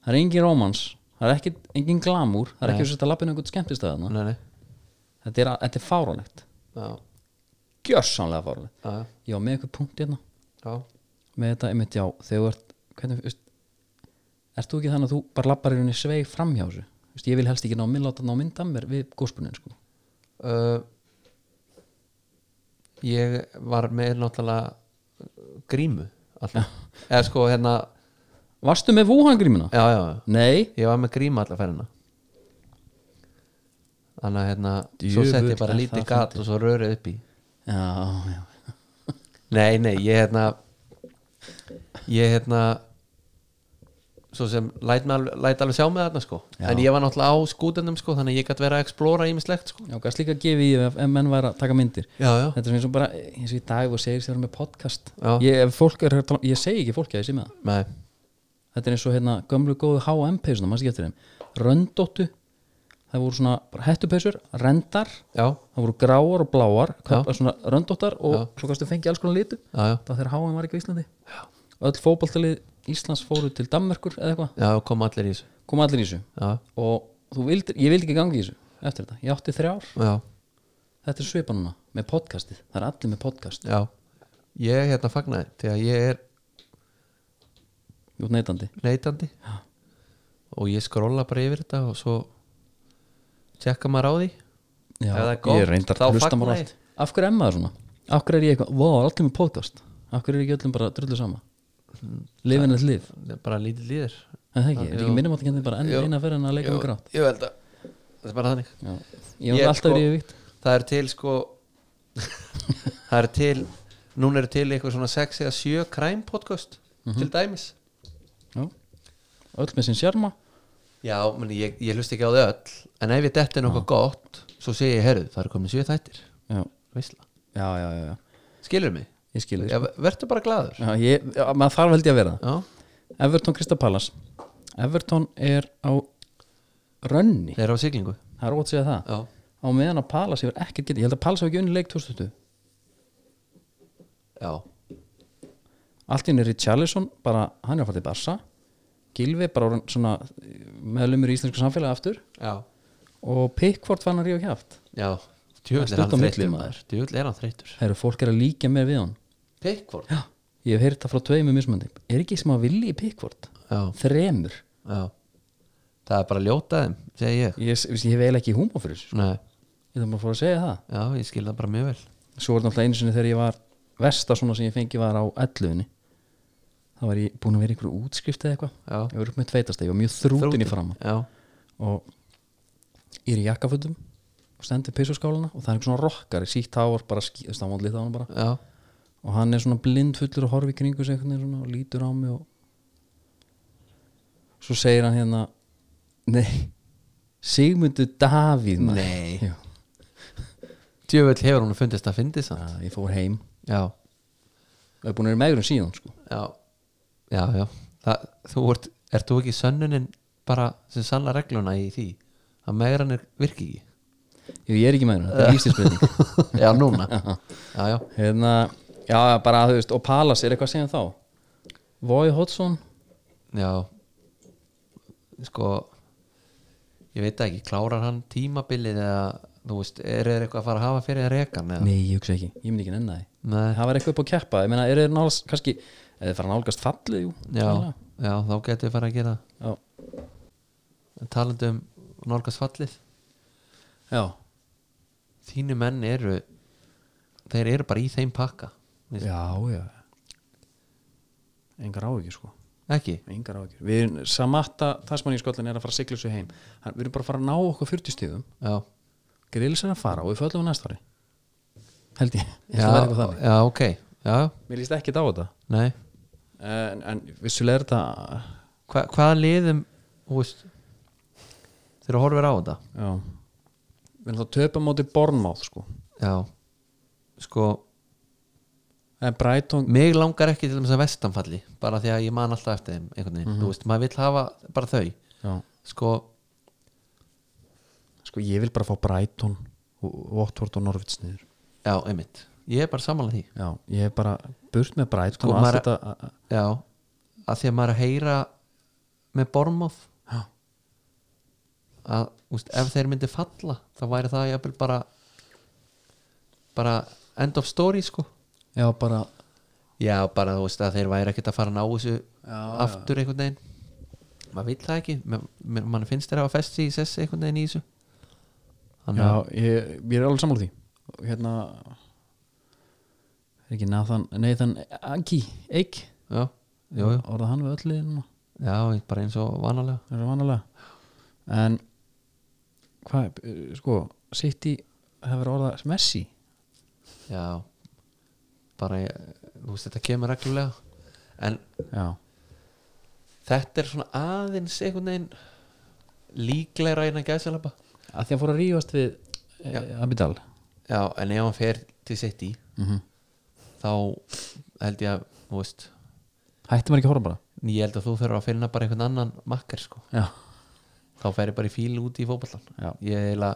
[SPEAKER 1] það er engin rómans það er ekki, engin glamúr, það er ekki þess að lappinu einhvern skemmtistæðan
[SPEAKER 2] Nei, nei.
[SPEAKER 1] þetta er, þetta er fáránlegt,
[SPEAKER 2] já,
[SPEAKER 1] gjörsamlega fáránlegt
[SPEAKER 2] já, já.
[SPEAKER 1] já, með einhver punkt hérna
[SPEAKER 2] já.
[SPEAKER 1] með þetta einmitt já þegar þú ert hvernig, veist, ert þú ekki þannig að þú bara lappar í rauninni sveig framhjá þessu veist, ég vil helst ekki ná minn láta ná mynd af mér við góspunin sko
[SPEAKER 2] uh, ég var með náttúrulega uh, grímu alltaf eða sko hérna
[SPEAKER 1] varstu með vúhangrímuna?
[SPEAKER 2] já, já, já.
[SPEAKER 1] nei
[SPEAKER 2] ég var með grímu alltaf ferðina þannig að hérna svo
[SPEAKER 1] Djöfull
[SPEAKER 2] sett ég bara
[SPEAKER 1] er
[SPEAKER 2] lítið
[SPEAKER 1] það
[SPEAKER 2] gat og svo rörið upp í
[SPEAKER 1] já, já,
[SPEAKER 2] nei, nei, ég hérna ég hérna svo sem læt, mig alveg, læt alveg sjá með þarna sko en ég var náttúrulega á skútendum sko þannig að ég gætt vera að explora ímislegt sko
[SPEAKER 1] já gæst líka að gefa í ef ef menn væri að taka myndir
[SPEAKER 2] já, já,
[SPEAKER 1] þetta er eins og bara eins og í dag og segir sér með podcast
[SPEAKER 2] Já.
[SPEAKER 1] ég, ef fólk er, að tala- ég segi ekki fólki að ég sé með það
[SPEAKER 2] nei,
[SPEAKER 1] þetta er eins og hérna gömlu góðu H&M peysuna maður sé eftir þeim röndóttu það voru svona bara hettupeysur rendar
[SPEAKER 2] já,
[SPEAKER 1] það voru gráar og bláar köp- svona röndóttar og svo kannstu fengið alls konar litu
[SPEAKER 2] já, já
[SPEAKER 1] það var þegar HM var ekki á Íslandi já. öll fótboltalið Íslands fóru til Danmerkur eða eitthvað,
[SPEAKER 2] Já, kom allir í þessu
[SPEAKER 1] kom allir í þessu
[SPEAKER 2] Já,
[SPEAKER 1] og þú vildir, ég vildi ekki gangi í þessu eftir þetta, ég átti þrjár
[SPEAKER 2] já,
[SPEAKER 1] þetta er svipa núna, með podcastið, það er allir með podcast
[SPEAKER 2] já Ég hérna fagnaði því að ég er
[SPEAKER 1] út neytandi,
[SPEAKER 2] leitandi já. og ég skrolla bara yfir þetta og svo tjekka maður á því
[SPEAKER 1] já,
[SPEAKER 2] Ef það er gott,
[SPEAKER 1] ég reyndar
[SPEAKER 2] þá
[SPEAKER 1] að hlusta
[SPEAKER 2] fagna
[SPEAKER 1] maður á
[SPEAKER 2] ég.
[SPEAKER 1] allt af hverju emma það svona, af hverju er ég eitthvað vá, allir með podcast, af hverju er ekki öllum bara drullu sama, lifin eitt lif
[SPEAKER 2] bara lítið líður
[SPEAKER 1] en það ekki, er ekki minnum átt að bara enn eina fyrir en að leika með grátt
[SPEAKER 2] Ég held að Það er bara þannig
[SPEAKER 1] já. ég
[SPEAKER 2] Ég
[SPEAKER 1] var alltaf
[SPEAKER 2] sko-
[SPEAKER 1] verið yfirvíkt
[SPEAKER 2] Það er til sko Það er til Núna eru til eitthvað svona 6 eða
[SPEAKER 1] Mhm.
[SPEAKER 2] 7 crime podcast til dæmis
[SPEAKER 1] Já. öll með sinn sjarma
[SPEAKER 2] Já, meni, ég, ég hlust ekki á þau öll En ef ég detti nokkuð gott Svo sé ég, herðu, það er komin sjö þættir
[SPEAKER 1] já,
[SPEAKER 2] Veisla,
[SPEAKER 1] já, já, já, já.
[SPEAKER 2] skilur mig
[SPEAKER 1] ég skil þig
[SPEAKER 2] Já, ver- vertu bara glaður
[SPEAKER 1] já, ég, já, maður þarf held ég að vera það
[SPEAKER 2] Já,
[SPEAKER 1] Everton Krista Pallas Everton er á rönni,
[SPEAKER 2] þeir eru á siglingu
[SPEAKER 1] það er ótt segja það
[SPEAKER 2] Já,
[SPEAKER 1] á meðan að Pallas hefur ekkert getið ég held að Pallas hefur ekki unni leik 2020
[SPEAKER 2] já,
[SPEAKER 1] allt í henni Richarlison, bara hann er að fara til Barsa Gilvi bara orðinn svona meðlumur í íslensku samfélagi aftur
[SPEAKER 2] já,
[SPEAKER 1] og Pickford fann hann ríða kjáft
[SPEAKER 2] já. Djöfull
[SPEAKER 1] Það er
[SPEAKER 2] er hann
[SPEAKER 1] stutt á milli,
[SPEAKER 2] þreyttur
[SPEAKER 1] maður.
[SPEAKER 2] maður Djöfull er hann þreytur
[SPEAKER 1] það eru fólk er að líka mér við hann
[SPEAKER 2] Pickford
[SPEAKER 1] já, ég hef heyrt það frá tveimur mismöndi er ekki sem að vilji í Pickford
[SPEAKER 2] Já,
[SPEAKER 1] þremur,
[SPEAKER 2] já Það er bara að ljóta þeim, segi ég
[SPEAKER 1] ég, ég, ég hef eiginlega ekki húma fyrir þessu sko.
[SPEAKER 2] Nei,
[SPEAKER 1] ég þarf bara að fóra að segja það
[SPEAKER 2] já, ég skil það bara mjög vel
[SPEAKER 1] svo var þetta alltaf einu sinni þegar ég var versta svona sem ég fengi var á 11 þá var ég búin að vera í einhverju útskrift eða eitthvað
[SPEAKER 2] Já.
[SPEAKER 1] ég var upp með tveitast, ég var mjög þrútin í fram
[SPEAKER 2] Já,
[SPEAKER 1] og ég er í jakkafötum og stendur pissuskálarna og það er einhver svona rokkari sítt háar bara skýðast á hann hann bara
[SPEAKER 2] já,
[SPEAKER 1] og hann er svona blindfullur og horfi í kringu sig einhvern veginn svona og lítur á mig og svo segir hann hérna nei Sigmundur Davíð maður."
[SPEAKER 2] Nei.
[SPEAKER 1] Jú.
[SPEAKER 2] djöfull hefur hún fundist að fyndi sann
[SPEAKER 1] Já, ég fór heim
[SPEAKER 2] Já,
[SPEAKER 1] og er búin að vera megrun síðan sko.
[SPEAKER 2] já, já, já það, Þú ert, ert þú ekki sönnunin bara sem sanna regluna í því að megran er virki ekki
[SPEAKER 1] Jú, ég er ekki megrun, þetta er lífstinsbreyting
[SPEAKER 2] Já, núna Já, já,
[SPEAKER 1] hérna, já, bara þú veist og Palas, er eitthvað að segja um þá? Voi Hodson
[SPEAKER 2] já Sko ég veit það ekki, klárar hann tímabilið eða, þú veist, er þeir eitthvað að fara að hafa fyrir að rekan eða?
[SPEAKER 1] Nei, ég hugsa ekki, ég myndi ekki nenni það
[SPEAKER 2] Nei,
[SPEAKER 1] það var eitthvað upp á keppa, ég meina, er þeir nálast kannski, eða þeir fara nálgast fallið, jú
[SPEAKER 2] já,
[SPEAKER 1] sennilega.
[SPEAKER 2] já, þá getur við fara að gera
[SPEAKER 1] já,
[SPEAKER 2] En talandi um nálgast fallið
[SPEAKER 1] já,
[SPEAKER 2] þínu menn eru þeir eru bara í þeim pakka Þú veist,
[SPEAKER 1] já, já. engar áhyggjur sko
[SPEAKER 2] ekki,
[SPEAKER 1] engar áhyggjur, við erum, Samatta Tasman í Skollin er að fara að sigla þessu heim Hann, við erum bara að fara að ná okkur 40 stíðum
[SPEAKER 2] já
[SPEAKER 1] grillis er að fara og við föllum á næsta ári held ég, ég held að vera eitthvað
[SPEAKER 2] já,
[SPEAKER 1] þannig
[SPEAKER 2] já, ok, já,
[SPEAKER 1] mér líst ekki á þetta
[SPEAKER 2] nei
[SPEAKER 1] en, en vissulega er þetta
[SPEAKER 2] Hva, hvaða liðum þú veist, þeir horfir á þetta
[SPEAKER 1] já við erum þá töpum móti Bornmáð sko
[SPEAKER 2] já, sko
[SPEAKER 1] en Eh, Brighton,
[SPEAKER 2] mig langar ekki til þess að vestanfalli bara því að ég man alltaf eftir þeim einhvern veginn,
[SPEAKER 1] Mhm.
[SPEAKER 2] þú veist, maður vill hafa bara þau
[SPEAKER 1] já,
[SPEAKER 2] sko,
[SPEAKER 1] sko ég vil bara fá Brighton og Watford og Norvits niður
[SPEAKER 2] já, einmitt ég er bara samanlega því,
[SPEAKER 1] Já, ég hef bara burt með brætt
[SPEAKER 2] Sko,
[SPEAKER 1] og allt
[SPEAKER 2] maður-
[SPEAKER 1] þetta a- a-
[SPEAKER 2] já að því að maður er að heyra með bormóð
[SPEAKER 1] Já,
[SPEAKER 2] að úst, ef þeir myndi falla þá væri það jafnvel bara bara end of story sko
[SPEAKER 1] já bara
[SPEAKER 2] já bara þú veist að þeir væri ekkert að fara að ná þessu
[SPEAKER 1] já.
[SPEAKER 2] aftur einhvern veginn maður vil það ekki, mér- mér- mann finnst þeir að hafa festi í sessi einhvern veginn í þessu þannig að
[SPEAKER 1] Já, ég, ég er alveg sammála því Og Hérna Er ekki Nathan, Nathan Aki Eik,
[SPEAKER 2] já, jú, jú,
[SPEAKER 1] orða hann við öll liðin núna,
[SPEAKER 2] já, bara eins og vanalega
[SPEAKER 1] það er vanalega En Hvað, eh, sko, sitt í hefur orða Messi
[SPEAKER 2] já bara, ég- þú veist þetta kemur reglulega en
[SPEAKER 1] Já,
[SPEAKER 2] þetta er svona aðeins einhvern veginn líklegra innan gæðsalaba
[SPEAKER 1] að því að fór að rífast við e, Abidal
[SPEAKER 2] Já, en ef hann fer til City
[SPEAKER 1] mm
[SPEAKER 2] þá held ég að þú veist,
[SPEAKER 1] Hætti maður ekki að horfa bara
[SPEAKER 2] ég held að þú þurfa að finna bara einhvern annan makkar sko
[SPEAKER 1] Já,
[SPEAKER 2] þá fer ég bara í fíl út í fótballan
[SPEAKER 1] Já.
[SPEAKER 2] ég heila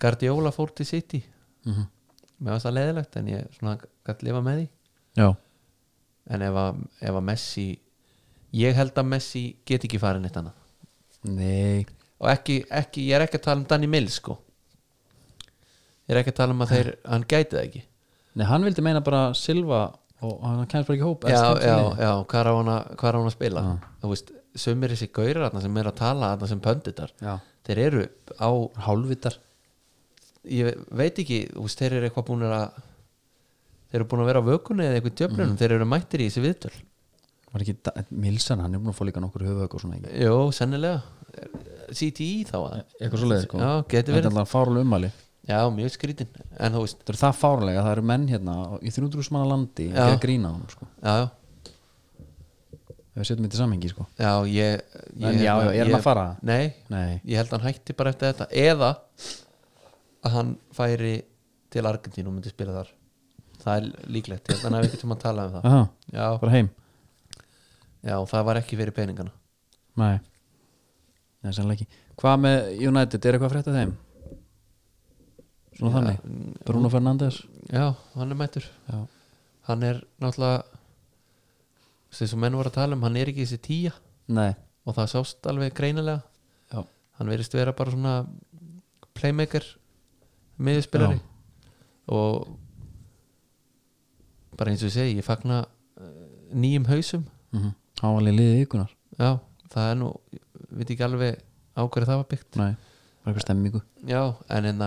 [SPEAKER 2] Guardiola fór til City
[SPEAKER 1] mm
[SPEAKER 2] mér var það leðilegt en ég svona gætt lifa með því
[SPEAKER 1] já.
[SPEAKER 2] en ef að, ef að Messi ég held að Messi get ekki farin eitt annað
[SPEAKER 1] Nei,
[SPEAKER 2] og ekki, ekki, ég er ekki að tala um Danny Mills sko ég er ekki að tala um að þeir hann gæti það ekki
[SPEAKER 1] Nei, hann vildi meina bara Silva og hann kemst bara ekki í hóp
[SPEAKER 2] já,
[SPEAKER 1] efstu
[SPEAKER 2] já,
[SPEAKER 1] liði.
[SPEAKER 2] já, hvað er á hann að, hvað er á hann að spila þú veist, sumir þessi gaurar þarna sem er að tala þarna sem pönditar
[SPEAKER 1] já.
[SPEAKER 2] þeir eru á,
[SPEAKER 1] Hálfvitar
[SPEAKER 2] ég veit ekki þú veist, þeir eru eitthvað búin að þeir eru búin að vera á vökunni eða eitthvað djöflunum þeir eru mættir í þessi viðtöl
[SPEAKER 1] Var ekki Da- Milsan, hann er búin að fá líka nokkur höfuðök og svona ekki
[SPEAKER 2] jú, sennilega CTI þá að
[SPEAKER 1] Eitthvað svo leið, sko
[SPEAKER 2] Já, geti
[SPEAKER 1] Þetta er
[SPEAKER 2] verið.
[SPEAKER 1] alltaf fárlega ummæli Þetta
[SPEAKER 2] já, mjög skrítin, en þú veist
[SPEAKER 1] eru það fárlega, það eru menn hérna í 300 manna landi ekki
[SPEAKER 2] Já.
[SPEAKER 1] að grína honum, sko
[SPEAKER 2] já, já,
[SPEAKER 1] ef við setjum þetta í samhengi sko
[SPEAKER 2] já, ég, ég hérna,
[SPEAKER 1] En já, já, er hann
[SPEAKER 2] ég-
[SPEAKER 1] að fara?
[SPEAKER 2] Nei,
[SPEAKER 1] Nei,
[SPEAKER 2] ég held að hann hætti bara eftir þetta eða að hann færi til Argentínu og myndi spila þar það er líklegt, ég held að hann hafi ekki tíma að tala um það
[SPEAKER 1] Aha,
[SPEAKER 2] já,
[SPEAKER 1] bara heim
[SPEAKER 2] já, það var ekki fyrir peningana
[SPEAKER 1] Nei, Nei sannlega ekki Hvað með United, er eitthvað að frétta þeim? Svona þannig Bruno Fernandes
[SPEAKER 2] já, hann er mættur
[SPEAKER 1] Já,
[SPEAKER 2] hann er náttúrulega sem svo menn voru að tala um, hann er ekki þessi tíja
[SPEAKER 1] Nei.
[SPEAKER 2] og það sást alveg greinilega
[SPEAKER 1] Já.
[SPEAKER 2] hann verist vera bara svona playmaker miðspilari
[SPEAKER 1] Já.
[SPEAKER 2] og bara eins og ég segi, ég fagna eh, nýjum hausum
[SPEAKER 1] Mhm. Hann var alveg liðið ykkunar
[SPEAKER 2] já, það er nú, ég veit ekki alveg á hverju það var byggt
[SPEAKER 1] Nei, bara eitthvað stemmingu
[SPEAKER 2] já, en en,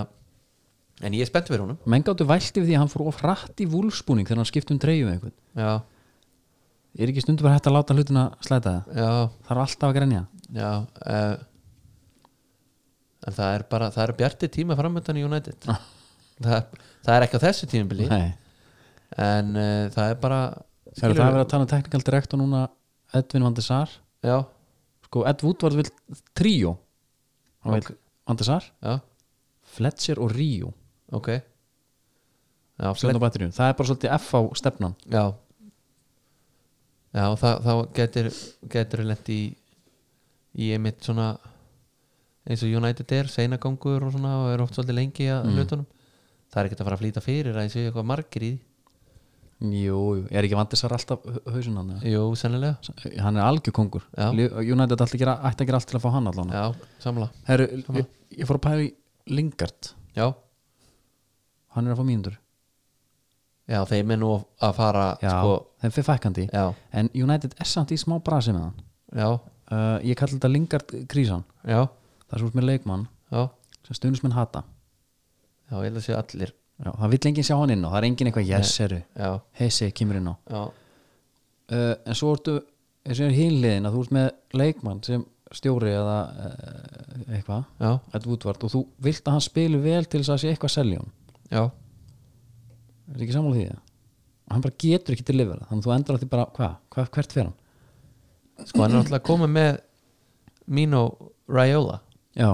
[SPEAKER 2] en ég er spennt fyrir honum
[SPEAKER 1] Menn gáttu vælt yfir því að hann fór of hratt í vúlspúning þegar hann skipti um treyju með einhvern
[SPEAKER 2] já,
[SPEAKER 1] Er ekki stundu bara hægt að láta hlutina slæta það?
[SPEAKER 2] já,
[SPEAKER 1] Það er alltaf að grenja
[SPEAKER 2] já uh, en það er bara það er bjartir tíma framöndan í United það, það er ekki á þessu tímabili
[SPEAKER 1] Nei,
[SPEAKER 2] en uh, það er bara
[SPEAKER 1] Skilur, það er verið að tala um teknikal direkt og núna Edvin Van de Sar
[SPEAKER 2] já,
[SPEAKER 1] sko Ed Woodward vil tríó hann vil Van de Sar,
[SPEAKER 2] já,
[SPEAKER 1] Fletcher og Ríó
[SPEAKER 2] ok já,
[SPEAKER 1] Flet... það er bara svolítið F á stefnan
[SPEAKER 2] já já, það, þá getur getur lent í í einmitt svona eins og United er, seinagangur og svona og er oft svolítið lengi
[SPEAKER 1] Mm.
[SPEAKER 2] að hlutunum það er ekkert að fara að flýta fyrir að ég séu eitthvað margir í
[SPEAKER 1] jú, jú, er ekki Van de Sar alltaf hausun hann eða?
[SPEAKER 2] því jú, sennilega,
[SPEAKER 1] hann er algjör kongur
[SPEAKER 2] Já.
[SPEAKER 1] Li- United ætti að gera, ætti að gera allt til að fá hann allan
[SPEAKER 2] já, samla
[SPEAKER 1] Herru, ég, ég fór að pæla í Lingard
[SPEAKER 2] já,
[SPEAKER 1] hann er að fá mínundur
[SPEAKER 2] já, þeim er nú að fara sko,
[SPEAKER 1] þeim fyrir fækandi
[SPEAKER 2] já,
[SPEAKER 1] en United er samt í smá brasi með hann
[SPEAKER 2] já,
[SPEAKER 1] uh, ég kalli þetta Lingard krísan
[SPEAKER 2] já já,
[SPEAKER 1] það er svo með leikmann sem stuðnismenn hata
[SPEAKER 2] já, ég held að séu allir
[SPEAKER 1] Já, það vill enginn sjá hann inn á, það er enginn eitthvað yes, heru,
[SPEAKER 2] já,
[SPEAKER 1] heysi, kemur inn á
[SPEAKER 2] já,
[SPEAKER 1] uh, en svo ertu eins og er hinliðin að þú ert með leikmann sem stjóri eða uh, eitthvað,
[SPEAKER 2] já
[SPEAKER 1] Ed Woodward og þú vilt að hann spili vel til þess að sé eitthvað seljón
[SPEAKER 2] Já,
[SPEAKER 1] er þetta ekki sammála því það? og hann bara getur ekki til lifera þannig að þú endur að því bara, hvað, hva, hvert fer hann?
[SPEAKER 2] sko hann er alltaf komið með Mino Raiola
[SPEAKER 1] Já,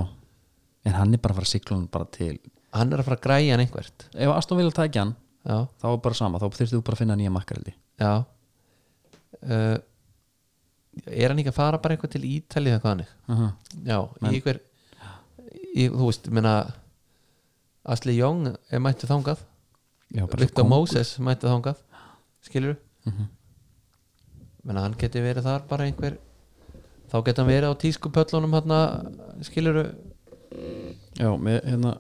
[SPEAKER 1] en hann er bara að fara að sigla hann bara til
[SPEAKER 2] Hann er að fara að græja hann einhvert
[SPEAKER 1] ef Aston vilja tækja hann,
[SPEAKER 2] Já,
[SPEAKER 1] þá er bara sama þá þyrftu þú bara að finna nýja makkareldi
[SPEAKER 2] já uh, Er hann ekki að fara bara eitthvað til Ítalið eitthvað hannig?
[SPEAKER 1] uh -huh.
[SPEAKER 2] Já, í einhver í, Þú veist, menna Asli Young er mættu þangað
[SPEAKER 1] Já, bara svo
[SPEAKER 2] Victor
[SPEAKER 1] kóng-
[SPEAKER 2] Moses mættu þangað Skilur du? Menna hann geti verið þar bara einhver Þá geti hann verið á tískupöllunum hérna, skilur du
[SPEAKER 1] Já, með, hérna,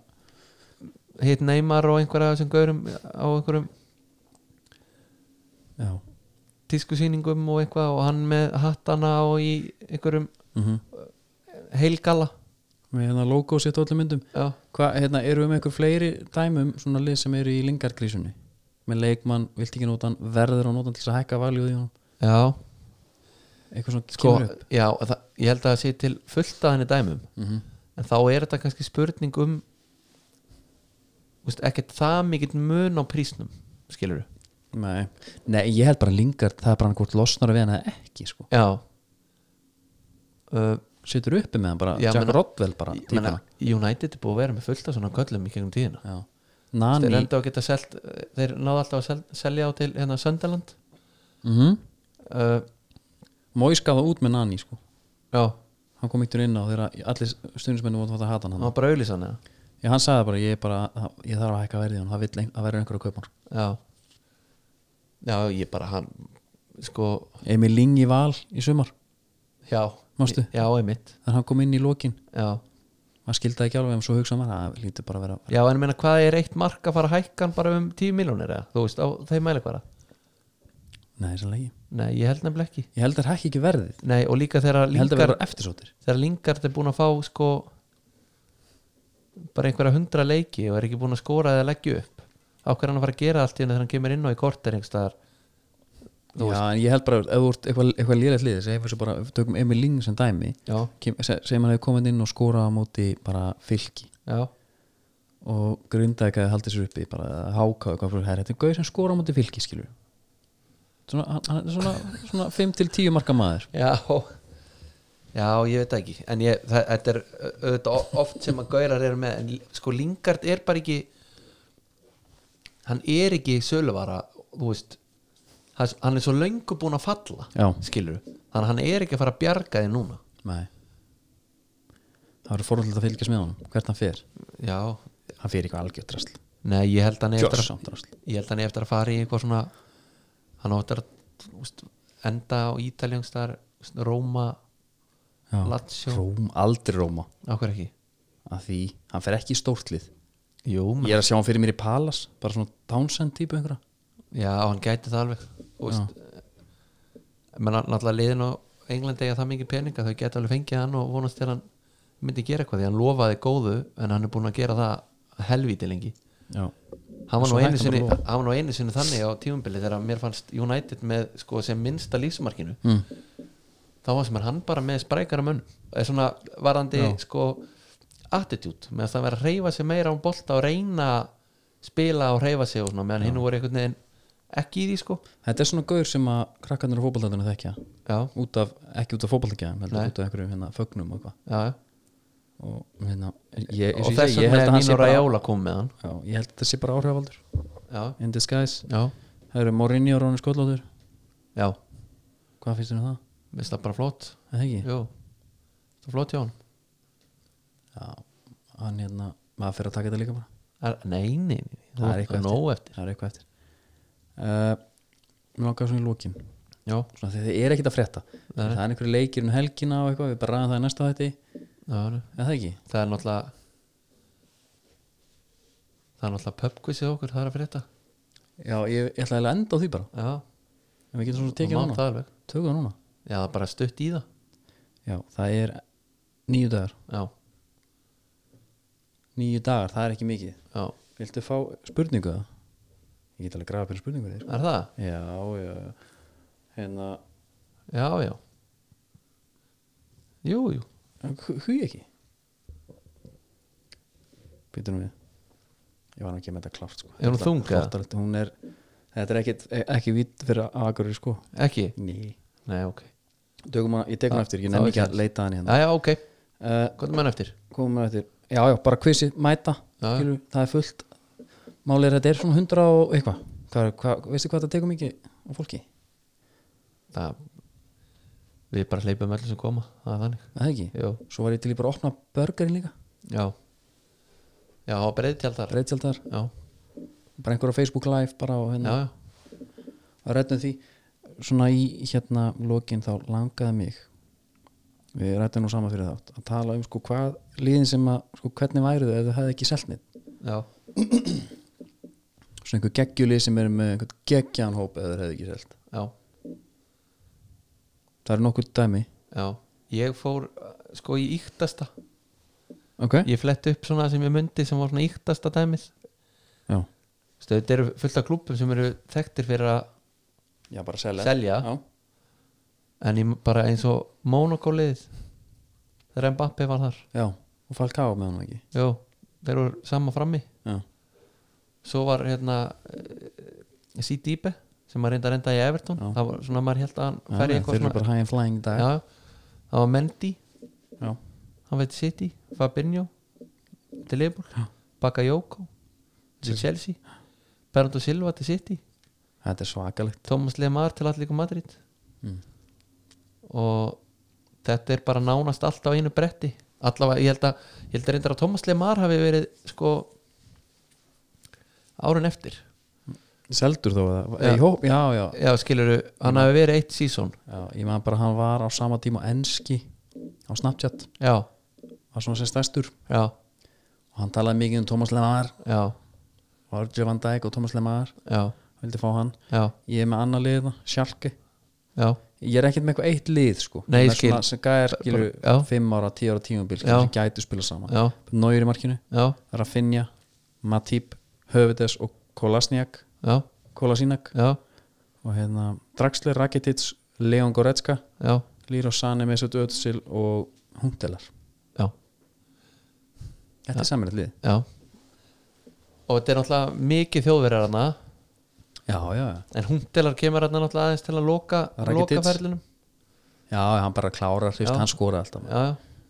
[SPEAKER 2] hitt Neymar og einhverja sem gaurum á einhverjum
[SPEAKER 1] já
[SPEAKER 2] tískusýningum og eitthvað og hann með hattana og í einhverjum
[SPEAKER 1] mm
[SPEAKER 2] heilgalla
[SPEAKER 1] með hérna logo sitt á öllum myndum
[SPEAKER 2] já,
[SPEAKER 1] Hva, hérna, eru við með einhver fleiri dæmum svona lið sem eru í lingarkrísunni með leikmann, vilt ekki nota hann verður og nota hann til þess að hækka valjóði hann
[SPEAKER 2] já,
[SPEAKER 1] eitthvað svona
[SPEAKER 2] sko
[SPEAKER 1] kemur upp
[SPEAKER 2] já, það, ég held að það sé til fullt að henni dæmum
[SPEAKER 1] mm
[SPEAKER 2] en þá er þetta kannski spurning um úst, ekkert það mikill mun á prísnum skilur du,
[SPEAKER 1] nei. nei, ég held bara lingard það er bara hann hvort losnar við hann eða ekki sko.
[SPEAKER 2] já uh,
[SPEAKER 1] situr uppi með hann bara,
[SPEAKER 2] Já,
[SPEAKER 1] Jack
[SPEAKER 2] menna-
[SPEAKER 1] Rodwell bara
[SPEAKER 2] ég meina, United er búið að vera með fullt af svona köllum í gegnum tíðina
[SPEAKER 1] típuna. Já.
[SPEAKER 2] þeir
[SPEAKER 1] Nani
[SPEAKER 2] enda á að geta selt eh, þeir náðu alltaf að sel, selja á til hérna Söndaland
[SPEAKER 1] mm -hmm.
[SPEAKER 2] uh,
[SPEAKER 1] móiskaða út með Nani sko.
[SPEAKER 2] já,
[SPEAKER 1] hann kom ykkur inn á þegar allir stundismennu voru að hata hann
[SPEAKER 2] hann
[SPEAKER 1] hann.
[SPEAKER 2] var bara auðlýsan eða
[SPEAKER 1] Já, hann sagði bara, ég, er bara ég þarf að hækka verðið hann, það vill ein- það verður einhver að kaupa hann
[SPEAKER 2] já já, ég bara hann sko,
[SPEAKER 1] Emil Ling í val í sumar
[SPEAKER 2] já
[SPEAKER 1] Manstu?
[SPEAKER 2] já, einmitt,
[SPEAKER 1] þegar hann kom inn í lokin
[SPEAKER 2] já
[SPEAKER 1] maður skildi það ekki alveg um svo hugsa maður það lítur bara að vera
[SPEAKER 2] já, en ég meina hvað er eitt mark að fara að hækka hann bara um 10 miljónir eða, þú veist, á þeim mælikvara
[SPEAKER 1] nei, þess að legi
[SPEAKER 2] nei, ég held nefnilega ekki
[SPEAKER 1] ég held að hækki ekki verðið
[SPEAKER 2] nei, og líka þegar
[SPEAKER 1] ég held að
[SPEAKER 2] Lingard
[SPEAKER 1] vera eftirsóttir
[SPEAKER 2] þegar Lingard er búin að fá sko bara einhverja hundra leiki og er ekki búin að skora eða leggja upp á hverju hann að fara að gera allt í henni þegar hann kemur inn á í korter einhverstaðar
[SPEAKER 1] já, en ég held bara ef þú ert eitthvað, eitthvað lýrætt liðið segjum við svo bara ef við tökum Emil Ling sem dæmi
[SPEAKER 2] já,
[SPEAKER 1] kem- se- segjum hann hefur komið inn og skorað á móti bara fylki
[SPEAKER 2] já,
[SPEAKER 1] og grunda ekki að haldi sér uppi bara að háka eitthvað fyrir herr þetta er gauð sem skorað á móti fylki skilur svona, hann, hann er svona, svona 5-10 marka maður
[SPEAKER 2] Já Já, ég veit það ekki En ég, það, þetta er ö- auðvitað o- oft sem að gaurar eru með En sko Lingard er bara ekki Hann er ekki söluvara Þú veist Hann hann er svo löngu búin að falla
[SPEAKER 1] Já.
[SPEAKER 2] Skilur Þannig að hann er ekki að fara að bjarga því núna
[SPEAKER 1] Nei Það verður fórhaldið að fylgjast með honum Hvert hann fer
[SPEAKER 2] Já
[SPEAKER 1] Hann fer í eitthvað algjört drasl
[SPEAKER 2] Nei, ég held hann eigi eftir að,
[SPEAKER 1] Gjörsamt drasl
[SPEAKER 2] Ég held hann eigi eftir að fara í eitthvað svona Hann á eftir að þú veist, Enda á Ítaljöngstar Róma,
[SPEAKER 1] Já.
[SPEAKER 2] Lazio.
[SPEAKER 1] Róm, aldrei Róma
[SPEAKER 2] á hver ekki
[SPEAKER 1] að því hann fer ekki í stórtlið
[SPEAKER 2] Jú, menn
[SPEAKER 1] Ég er að sjá hann fyrir mér í Palas bara svona Townsend típu einhverja
[SPEAKER 2] Já, hann gæti það alveg Þú veist, menn hann- náttúrulega liðin á Englandi eiga það mikið peninga þau gæti alveg fengið hann og vonast til hann myndi gera eitthvað því hann lofaði góðu en hann er búin að gera það helvíti lengi
[SPEAKER 1] Já,
[SPEAKER 2] hann var,
[SPEAKER 1] Svo
[SPEAKER 2] nú einu
[SPEAKER 1] hættir
[SPEAKER 2] sinni,
[SPEAKER 1] bara að
[SPEAKER 2] hann var nú einu sinni þannig á tífumbili þegar mér fannst United með sko, sem minnsta lífsmarkinu
[SPEAKER 1] mm.
[SPEAKER 2] þá var sem er hann bara með sprækara mönn eða svona varandi sko attitude, með að það vera að reyfa sig meira án bolta og reyna að spila og reyfa sig og svona, meðan hinn voru einhvern veginn ekki í því sko
[SPEAKER 1] Þetta er svona gaur sem að krakkarnir á fótboltandunum þekkja
[SPEAKER 2] já,
[SPEAKER 1] út af, ekki út af fótboltandunum heldur
[SPEAKER 2] Nei.
[SPEAKER 1] út af einhverjum hérna fögnum og eitthvað
[SPEAKER 2] já, já.
[SPEAKER 1] og hérna ég, eins
[SPEAKER 2] og
[SPEAKER 1] ég
[SPEAKER 2] þess
[SPEAKER 1] segi, ég held
[SPEAKER 2] vegna er
[SPEAKER 1] að hann sé
[SPEAKER 2] Nino
[SPEAKER 1] bara-
[SPEAKER 2] Raiola kom með hann
[SPEAKER 1] Já, ég held að það sé bara áhrifavaldur
[SPEAKER 2] já,
[SPEAKER 1] in disguise
[SPEAKER 2] já,
[SPEAKER 1] Það eru Morinni og Rónir Skollóður
[SPEAKER 2] já,
[SPEAKER 1] Hvað finnst þér um það?
[SPEAKER 2] minnst það bara flott
[SPEAKER 1] Er Það ekki?
[SPEAKER 2] jú, það er flott hjá hann
[SPEAKER 1] Já, hann hérna maður fyrir að taka þetta líka bara
[SPEAKER 2] er, nei, nei, nei,
[SPEAKER 1] Það er
[SPEAKER 2] það
[SPEAKER 1] eitthvað
[SPEAKER 2] er nóg eftir
[SPEAKER 1] Það er eitthvað eftir uh, Mér langar svona í lókin
[SPEAKER 2] já,
[SPEAKER 1] svona þegar þið er ekkert að frétta
[SPEAKER 2] Nei.
[SPEAKER 1] Það er einhverju leikir um helgina og eitthvað við bara ræðum það í næsta þætti
[SPEAKER 2] já, já.
[SPEAKER 1] Er það ekki?
[SPEAKER 2] það er náttúrulega það er náttúrulega pubquizið okkur, það er að fyrir þetta
[SPEAKER 1] Já, ég, ég ætla eiginlega að enda á því bara
[SPEAKER 2] já,
[SPEAKER 1] en við getum svona
[SPEAKER 2] það
[SPEAKER 1] tekið
[SPEAKER 2] má
[SPEAKER 1] núna
[SPEAKER 2] það alveg
[SPEAKER 1] Tökum það núna
[SPEAKER 2] já, það er bara stutt í það
[SPEAKER 1] Já, það er níu dagar
[SPEAKER 2] já,
[SPEAKER 1] Níu dagar, það er ekki mikið
[SPEAKER 2] já,
[SPEAKER 1] Viltu fá spurningu það? Ég get alveg grafa fyrir sko. spurningu þér
[SPEAKER 2] er það?
[SPEAKER 1] Já, já, já. hérna
[SPEAKER 2] já, já jú, jú,
[SPEAKER 1] Hví ekki? Býtu nú við Ég var nú ekki með þetta klárt sko.
[SPEAKER 2] Er hún þung, eða?
[SPEAKER 1] Flottar- Hún er, þetta er ekkit, e, ekki vitt fyrir aðgörður sko
[SPEAKER 2] ekki
[SPEAKER 1] Ný
[SPEAKER 2] nei, ok,
[SPEAKER 1] Tökum hana, Ég tek
[SPEAKER 2] Það-
[SPEAKER 1] hana eftir, ég
[SPEAKER 2] það
[SPEAKER 1] nefn
[SPEAKER 2] var
[SPEAKER 1] ekki að
[SPEAKER 2] ekki-
[SPEAKER 1] leita hann hérna
[SPEAKER 2] já, já, ok
[SPEAKER 1] uh,
[SPEAKER 2] hvað er menn eftir?
[SPEAKER 1] Komum við eftir, já já, bara kvissi, mæta
[SPEAKER 2] Já, já.
[SPEAKER 1] skilu, Það er fullt Málið er að þetta er svona hundra og eitthvað hvað, er- hvað, Veistu hvað þetta tekur mikið á fólki?
[SPEAKER 2] það við bara hleypum allir sem koma það er þannig
[SPEAKER 1] Er Það ekki?
[SPEAKER 2] Jú.
[SPEAKER 1] Svo var ég til í bara að opna burgerin líka
[SPEAKER 2] já já, breyðtjald þar já,
[SPEAKER 1] Reiðtjaldar,
[SPEAKER 2] já,
[SPEAKER 1] bara einhver á Facebook live bara og hérna
[SPEAKER 2] já,
[SPEAKER 1] að rættum því svona í hérna lokin þá langaði mig við rættum nú sama fyrir þátt að tala um sko hvað liðin sem að sko hvernig væru þau ef þau hefði ekki selt neitt
[SPEAKER 2] já,
[SPEAKER 1] svona einhver geggjulið sem eru með einhvern geggjan hóp ef þau hefði ekki selt
[SPEAKER 2] já,
[SPEAKER 1] það eru nokkur dæmi
[SPEAKER 2] já. ég fór uh, sko í íktasta
[SPEAKER 1] ok
[SPEAKER 2] ég flett upp svona sem ég myndi sem var svona íktasta dæmið
[SPEAKER 1] já
[SPEAKER 2] Þú veist, þetta eru fullt af klúppum sem eru þekktir fyrir að
[SPEAKER 1] já bara selja
[SPEAKER 2] selja
[SPEAKER 1] já
[SPEAKER 2] en ég bara eins og Monaco liðið þegar Mbappi var þar
[SPEAKER 1] já og Falcao með hann ekki
[SPEAKER 2] Jó, þeir eru sama frammi
[SPEAKER 1] já
[SPEAKER 2] svo var hérna Sidibe sem maður reynda að reynda í Everton
[SPEAKER 1] Já.
[SPEAKER 2] það var svona maður held að hann
[SPEAKER 1] Já, já,
[SPEAKER 2] færi
[SPEAKER 1] þeir
[SPEAKER 2] eitthvað
[SPEAKER 1] eru
[SPEAKER 2] svona
[SPEAKER 1] bara high and flying í dag
[SPEAKER 2] já, það var Mendy,
[SPEAKER 1] já
[SPEAKER 2] hann veit City Fabinho, til Leifur Bakayoko, til Chelsea Bernardo Silva til City
[SPEAKER 1] þetta er svakalegt
[SPEAKER 2] Thomas Lemar til Atlético Madrid
[SPEAKER 1] Mm.
[SPEAKER 2] og þetta er bara nánast allt á einu bretti allavega, ég held að, ég held að reyndar að Thomas Lemar hafi verið sko árun eftir
[SPEAKER 1] seldur þó að
[SPEAKER 2] Já.
[SPEAKER 1] já. Hóp, já já
[SPEAKER 2] já, skilurðu, hann hafi verið eitt sísón
[SPEAKER 1] já ég meðan bara hann var á sama tíma á enski á Snapchat
[SPEAKER 2] já,
[SPEAKER 1] var svona sem stærstur
[SPEAKER 2] já,
[SPEAKER 1] og hann talaði mikið um Thomas Lemar
[SPEAKER 2] já,
[SPEAKER 1] og Arjun Van Dijk og Thomas Lemar
[SPEAKER 2] já
[SPEAKER 1] vildi fá hann,
[SPEAKER 2] já,
[SPEAKER 1] ég er með annað lið það, Schalke,
[SPEAKER 2] já,
[SPEAKER 1] ég er ekkert með eitthvað eitt lið sko,
[SPEAKER 2] Nei,
[SPEAKER 1] Ég er
[SPEAKER 2] ég skil.
[SPEAKER 1] svona sem gæðar skilur
[SPEAKER 2] Já.
[SPEAKER 1] 5 ára, 10 ára tímabil skilur,
[SPEAKER 2] Já.
[SPEAKER 1] sem gætu spila saman,
[SPEAKER 2] já,
[SPEAKER 1] Nóir í markinu
[SPEAKER 2] já,
[SPEAKER 1] Rafinha, Matip Hövides og Kolasniak
[SPEAKER 2] já,
[SPEAKER 1] Kolasinak
[SPEAKER 2] já,
[SPEAKER 1] og hérna Draxler, Rakitic, Leon Goretzka
[SPEAKER 2] já,
[SPEAKER 1] Lýra Sane, Mesut Özil og Hundelar,
[SPEAKER 2] já,
[SPEAKER 1] þetta er samanlegt lið
[SPEAKER 2] já og þetta er náttúrulega mikið þjóðverðarana
[SPEAKER 1] já, já, já.
[SPEAKER 2] en Hundelar kemur hann náttúrulega aðeins til að loka,
[SPEAKER 1] Rakitic.
[SPEAKER 2] loka ferlinum
[SPEAKER 1] já, hann bara klárar, hrist,
[SPEAKER 2] Já.
[SPEAKER 1] hann skora alltaf
[SPEAKER 2] já, já,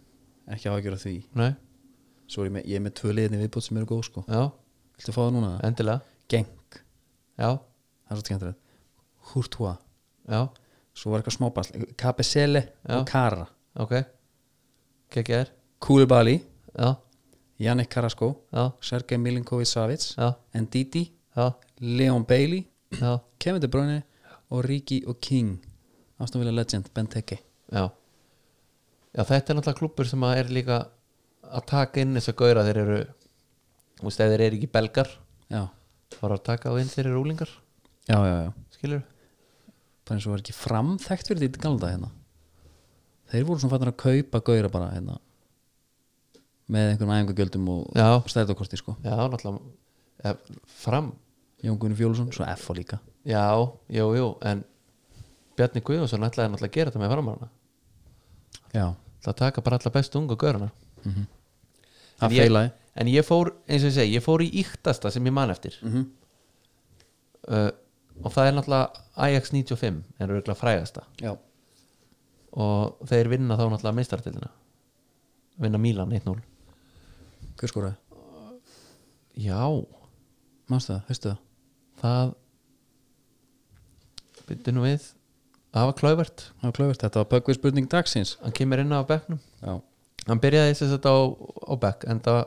[SPEAKER 1] ekki að gera því
[SPEAKER 2] nei,
[SPEAKER 1] svo er ég með, ég er með tvö liðin í viðbót sem eru góð sko
[SPEAKER 2] já,
[SPEAKER 1] viltu fá það núna?
[SPEAKER 2] endilega
[SPEAKER 1] Eh, Genk,
[SPEAKER 2] já,
[SPEAKER 1] það er svo skemmtilegt Hurtua,
[SPEAKER 2] já,
[SPEAKER 1] svo var eitthvað smábasl Kabesele
[SPEAKER 2] Já.
[SPEAKER 1] og Kara
[SPEAKER 2] ok KGR,
[SPEAKER 1] Kúlubali,
[SPEAKER 2] já,
[SPEAKER 1] Jannik Karasko
[SPEAKER 2] já
[SPEAKER 1] Sergei Milinkovic-Savic
[SPEAKER 2] já,
[SPEAKER 1] Ndidi,
[SPEAKER 2] já,
[SPEAKER 1] Leon Bailey
[SPEAKER 2] já,
[SPEAKER 1] Kevin De Bruyne og Riki og King Aston Villa Legend, Ben Teke
[SPEAKER 2] já já, þetta er náttúrulega klúppur sem að er líka að taka inn þess að gauðra þeir eru þú veist, ef þeir eru ekki belgar
[SPEAKER 1] já,
[SPEAKER 2] þá er að taka á inn þeir eru úlingar
[SPEAKER 1] já, já, já
[SPEAKER 2] skilur,
[SPEAKER 1] bara eins og var ekki framþekkt fyrir því galda hérna þeir voru svona fannir að kaupa gauðra bara hérna með einhverjum æfingagjöldum og
[SPEAKER 2] Já.
[SPEAKER 1] stæðokorti sko
[SPEAKER 2] já, náttúrulega ja, fram,
[SPEAKER 1] Jón Gunni Fjólusson, svo F og líka
[SPEAKER 2] já, jú, jú en Bjarni Guðjónsson ætlaði náttúrulega að gera þetta með framhverfana
[SPEAKER 1] já,
[SPEAKER 2] Það taka bara alla bestu ungu gaurana
[SPEAKER 1] það
[SPEAKER 2] ég-
[SPEAKER 1] feilaði
[SPEAKER 2] En ég fór, eins og ég segi, ég fór í íktasta sem ég man eftir
[SPEAKER 1] mm -hmm.
[SPEAKER 2] uh, Og það er náttúrulega Ajax 95 En eru örugglega frægasta
[SPEAKER 1] já,
[SPEAKER 2] Og þeir vinna þá náttúrulega meistartildina Vinna Milan 1-0
[SPEAKER 1] hver skoraði?
[SPEAKER 2] Já,
[SPEAKER 1] Manstu það, veistu það?
[SPEAKER 2] það Byttu nú við Það var klöfvert
[SPEAKER 1] Það var klöfurt, þetta var Pöggvið spurning dagsins
[SPEAKER 2] Hann kemur inn á bekknum
[SPEAKER 1] já,
[SPEAKER 2] Hann byrjaði þess að þetta á, á bekk En það,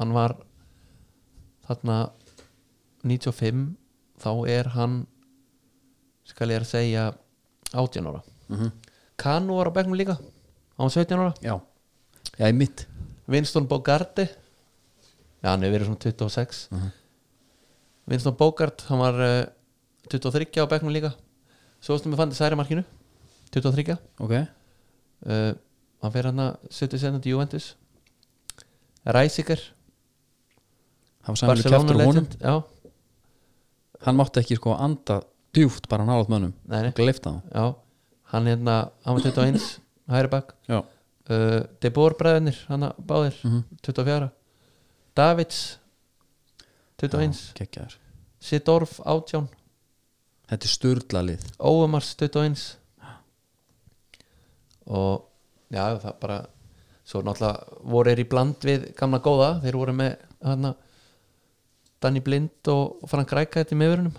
[SPEAKER 2] hann var Þarna 95 Þá er hann Skal ég að segja 18 ára
[SPEAKER 1] mm -hmm.
[SPEAKER 2] Kanu var á bekknum líka Hann var 17 ára
[SPEAKER 1] já, já, í mitt
[SPEAKER 2] Winston Bogarti Já, hann hefur verið svona 26 Winston Bogart, hann var uh, 23 á bekknum líka Svo stum við fandi særimarkinu 23
[SPEAKER 1] ok,
[SPEAKER 2] uh, hann fer hérna hann að 77. Juventus Ræsiker
[SPEAKER 1] það var sæmilu kæftur
[SPEAKER 2] Barcelona
[SPEAKER 1] á honum
[SPEAKER 2] legend já,
[SPEAKER 1] hann mátti ekki sko anda djúft bara nálaðt mönnum
[SPEAKER 2] nei, nei,
[SPEAKER 1] og glifta það
[SPEAKER 2] já, hann hérna hann var 21, hæri bak
[SPEAKER 1] já,
[SPEAKER 2] uh, De Boer bræðinir, hann að báðir
[SPEAKER 1] Mhm.
[SPEAKER 2] 24 Davids 21,
[SPEAKER 1] geggjaður
[SPEAKER 2] Sidorf 18
[SPEAKER 1] þetta er sturla lið
[SPEAKER 2] Óumars 21 og já það bara svo náttúrulega voru þeir í bland við gamla góða, þeir voru með hana, Danny Blind og Frank Ræka þetta í meðverunum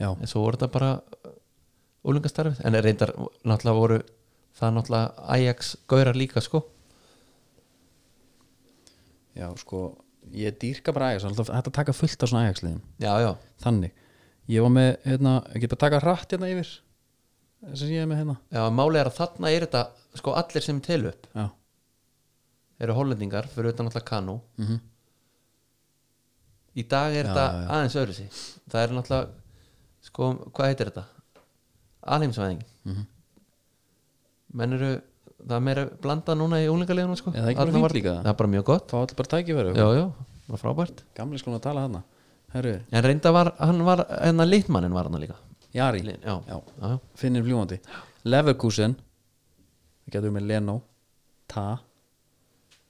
[SPEAKER 1] já,
[SPEAKER 2] en svo voru þetta bara úlingastarfið, en reyndar náttúrulega voru það náttúrulega Ajax gaurar líka sko
[SPEAKER 1] já, sko ég dýrka bara Ajax, alltaf hægt að taka fullt af svona Ajax-liðum
[SPEAKER 2] já, já, þannig
[SPEAKER 1] ég var með, hérna, ég get bara taka hratt hérna yfir þess að ég er með hérna
[SPEAKER 2] já, máli er að þarna er þetta sko allir sem til upp
[SPEAKER 1] já,
[SPEAKER 2] eru hollendingar, fyrir utan náttúrulega kanú
[SPEAKER 1] mm
[SPEAKER 2] í dag er
[SPEAKER 1] Já,
[SPEAKER 2] þetta
[SPEAKER 1] já.
[SPEAKER 2] aðeins öðru sig það er náttúrulega sko, hvað heitir þetta? alheimsvæðing
[SPEAKER 1] Mhm.
[SPEAKER 2] menn eru það er meira blanda núna í úlingarlegunum sko.
[SPEAKER 1] Já, það er ekki bara
[SPEAKER 2] Þarna
[SPEAKER 1] fínt
[SPEAKER 2] var-
[SPEAKER 1] líka.
[SPEAKER 2] það er bara mjög gott
[SPEAKER 1] þá allir bara tækifæru
[SPEAKER 2] já, já, það var frábært
[SPEAKER 1] gamli skulum að tala hérna herru,
[SPEAKER 2] en reynda var, hann var, hennar litmannin var hann líka
[SPEAKER 1] Jari,
[SPEAKER 2] Lin- já,
[SPEAKER 1] Já.
[SPEAKER 2] já, já,
[SPEAKER 1] finnir fljúandi Leverkusen það getur við með Leno Ta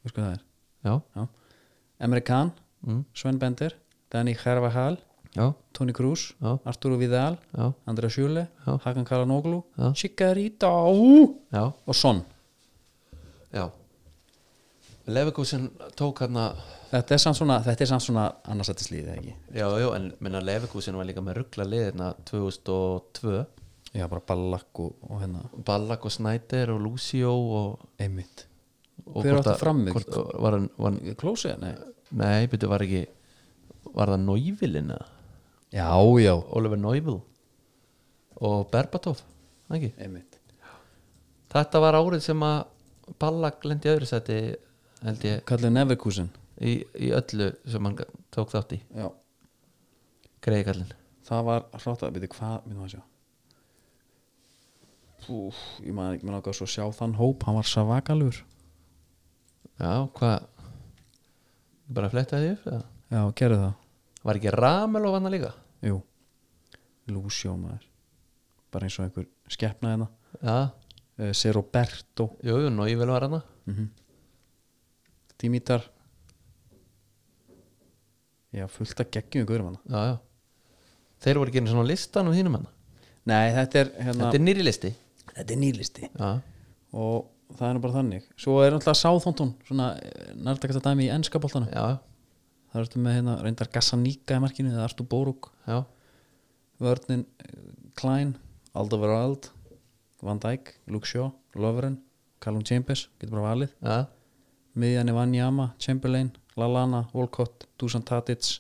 [SPEAKER 1] veist hvað það er
[SPEAKER 2] já,
[SPEAKER 1] já. Emre Can,
[SPEAKER 2] mm,
[SPEAKER 1] Sven Bender Danny Hervahal,
[SPEAKER 2] já,
[SPEAKER 1] Toni Kroos
[SPEAKER 2] Já.
[SPEAKER 1] Arturo Vidal,
[SPEAKER 2] já,
[SPEAKER 1] Andrea Schüle
[SPEAKER 2] Já.
[SPEAKER 1] Hakan Kalanoglu,
[SPEAKER 2] Já.
[SPEAKER 1] Chikarita
[SPEAKER 2] já,
[SPEAKER 1] og Son
[SPEAKER 2] já. Leverkusen tók hérna, hann að
[SPEAKER 1] þetta er samt svona, þetta er samt svona annarsættislið ekki
[SPEAKER 2] já, já, en minna Leverkusen var líka með hérna ruggla liðina 2002
[SPEAKER 1] já bara Ballack og, og hérna
[SPEAKER 2] Ballack og Snyder og Lucio og,
[SPEAKER 1] einmitt,
[SPEAKER 2] og
[SPEAKER 1] Hver
[SPEAKER 2] hvort
[SPEAKER 1] átti
[SPEAKER 2] að-
[SPEAKER 1] frammi?
[SPEAKER 2] hvort- var hann, var hann,
[SPEAKER 1] klósið, nei
[SPEAKER 2] nei, betur var ekki var það Neuvilina
[SPEAKER 1] já, já,
[SPEAKER 2] Oliver Neuvil og Berbatov ekki?
[SPEAKER 1] einmitt
[SPEAKER 2] þetta var árið sem að Ballack lendi öðru seti held ég
[SPEAKER 1] kallið Leverkusen
[SPEAKER 2] í, í öllu sem hann tók þátt í
[SPEAKER 1] já,
[SPEAKER 2] greiðkallin
[SPEAKER 1] það var hrátt að byrja hvað minnum að sjá Úf, ég maður ekki með náttúrulega svo að sjá þann hóp hann var savakalur
[SPEAKER 2] já, hvað bara flettaði því upp eða?
[SPEAKER 1] já, gerðu það,
[SPEAKER 2] var ekki Ramel og vanna líka
[SPEAKER 1] jú Lúsjó maður bara eins og einhver skeppna hérna
[SPEAKER 2] já,
[SPEAKER 1] uh, Seroberto
[SPEAKER 2] jú, jú, Neuvil var hann
[SPEAKER 1] mm Dimitar já, fullt að geggjum ykkur hann
[SPEAKER 2] já, já þeir voru ekki einu svona listan um þínum hann
[SPEAKER 1] Nei, þetta er, hérna,
[SPEAKER 2] þetta er nýri listi
[SPEAKER 1] þetta er nýlisti
[SPEAKER 2] já,
[SPEAKER 1] og það er nú bara þannig svo er náttúrulega Sáþóntón svona nærtakast að dæmi í enska boltanum
[SPEAKER 2] já,
[SPEAKER 1] það ertu með hérna, reyndar Gassaníka í markinu eða Artur Boruk,
[SPEAKER 2] já,
[SPEAKER 1] Vörnin eh, Klein, Aldoverald Van Dijk, Luke Shaw Lovren, Callum Chambers getur bara valið,
[SPEAKER 2] já,
[SPEAKER 1] miðjan er Vanyama Chamberlain, Lallana, Wolcott Dusan Tadic,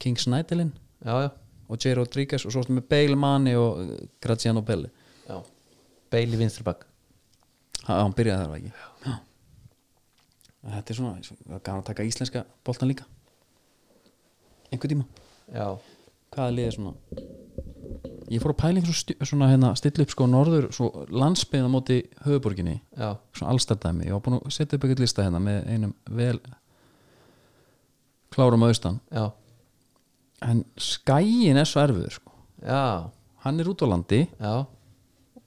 [SPEAKER 1] Kings Nightelin
[SPEAKER 2] já, já,
[SPEAKER 1] og J. Rodríguez og svo ertu með Bale Mani og eh, Graziano Belli,
[SPEAKER 2] já. Bailey Vinsterbakk
[SPEAKER 1] Ha- hann byrjaði þar var ekki Já. þetta er svona það er gaman að taka íslenska boltan líka einhver tíma
[SPEAKER 2] já,
[SPEAKER 1] hvaða liðið svona ég fór að pæla einhver svona, svona hérna, stilla upp sko norður, svo landsbyðin á móti höfuborginni,
[SPEAKER 2] já,
[SPEAKER 1] svona allstærdæmi ég var búin að setja upp eitthvað lista hérna með einum vel klárum austan,
[SPEAKER 2] já,
[SPEAKER 1] en skæin er svo erfiður sko,
[SPEAKER 2] já
[SPEAKER 1] hann er út á landi
[SPEAKER 2] já,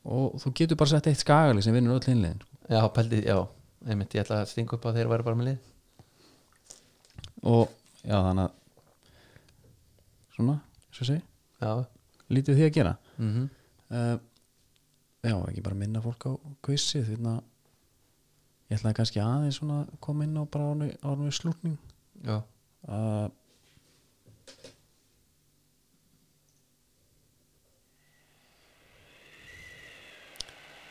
[SPEAKER 1] og þú getur bara sett eitt skagali sem vinnur öll hinliðin sko.
[SPEAKER 2] já, pældi, já einmitt, ég ætla að stinga upp að þeir væri bara með lið
[SPEAKER 1] og já þannig að svona, svo segi
[SPEAKER 2] já,
[SPEAKER 1] lítið því að gera
[SPEAKER 2] mhm
[SPEAKER 1] uh, já, ekki bara minna fólk á kvissið því að ég ætlaði kannski aðeins svona að koma inn á bara árnu- árnu í slúkning
[SPEAKER 2] já,
[SPEAKER 1] uh,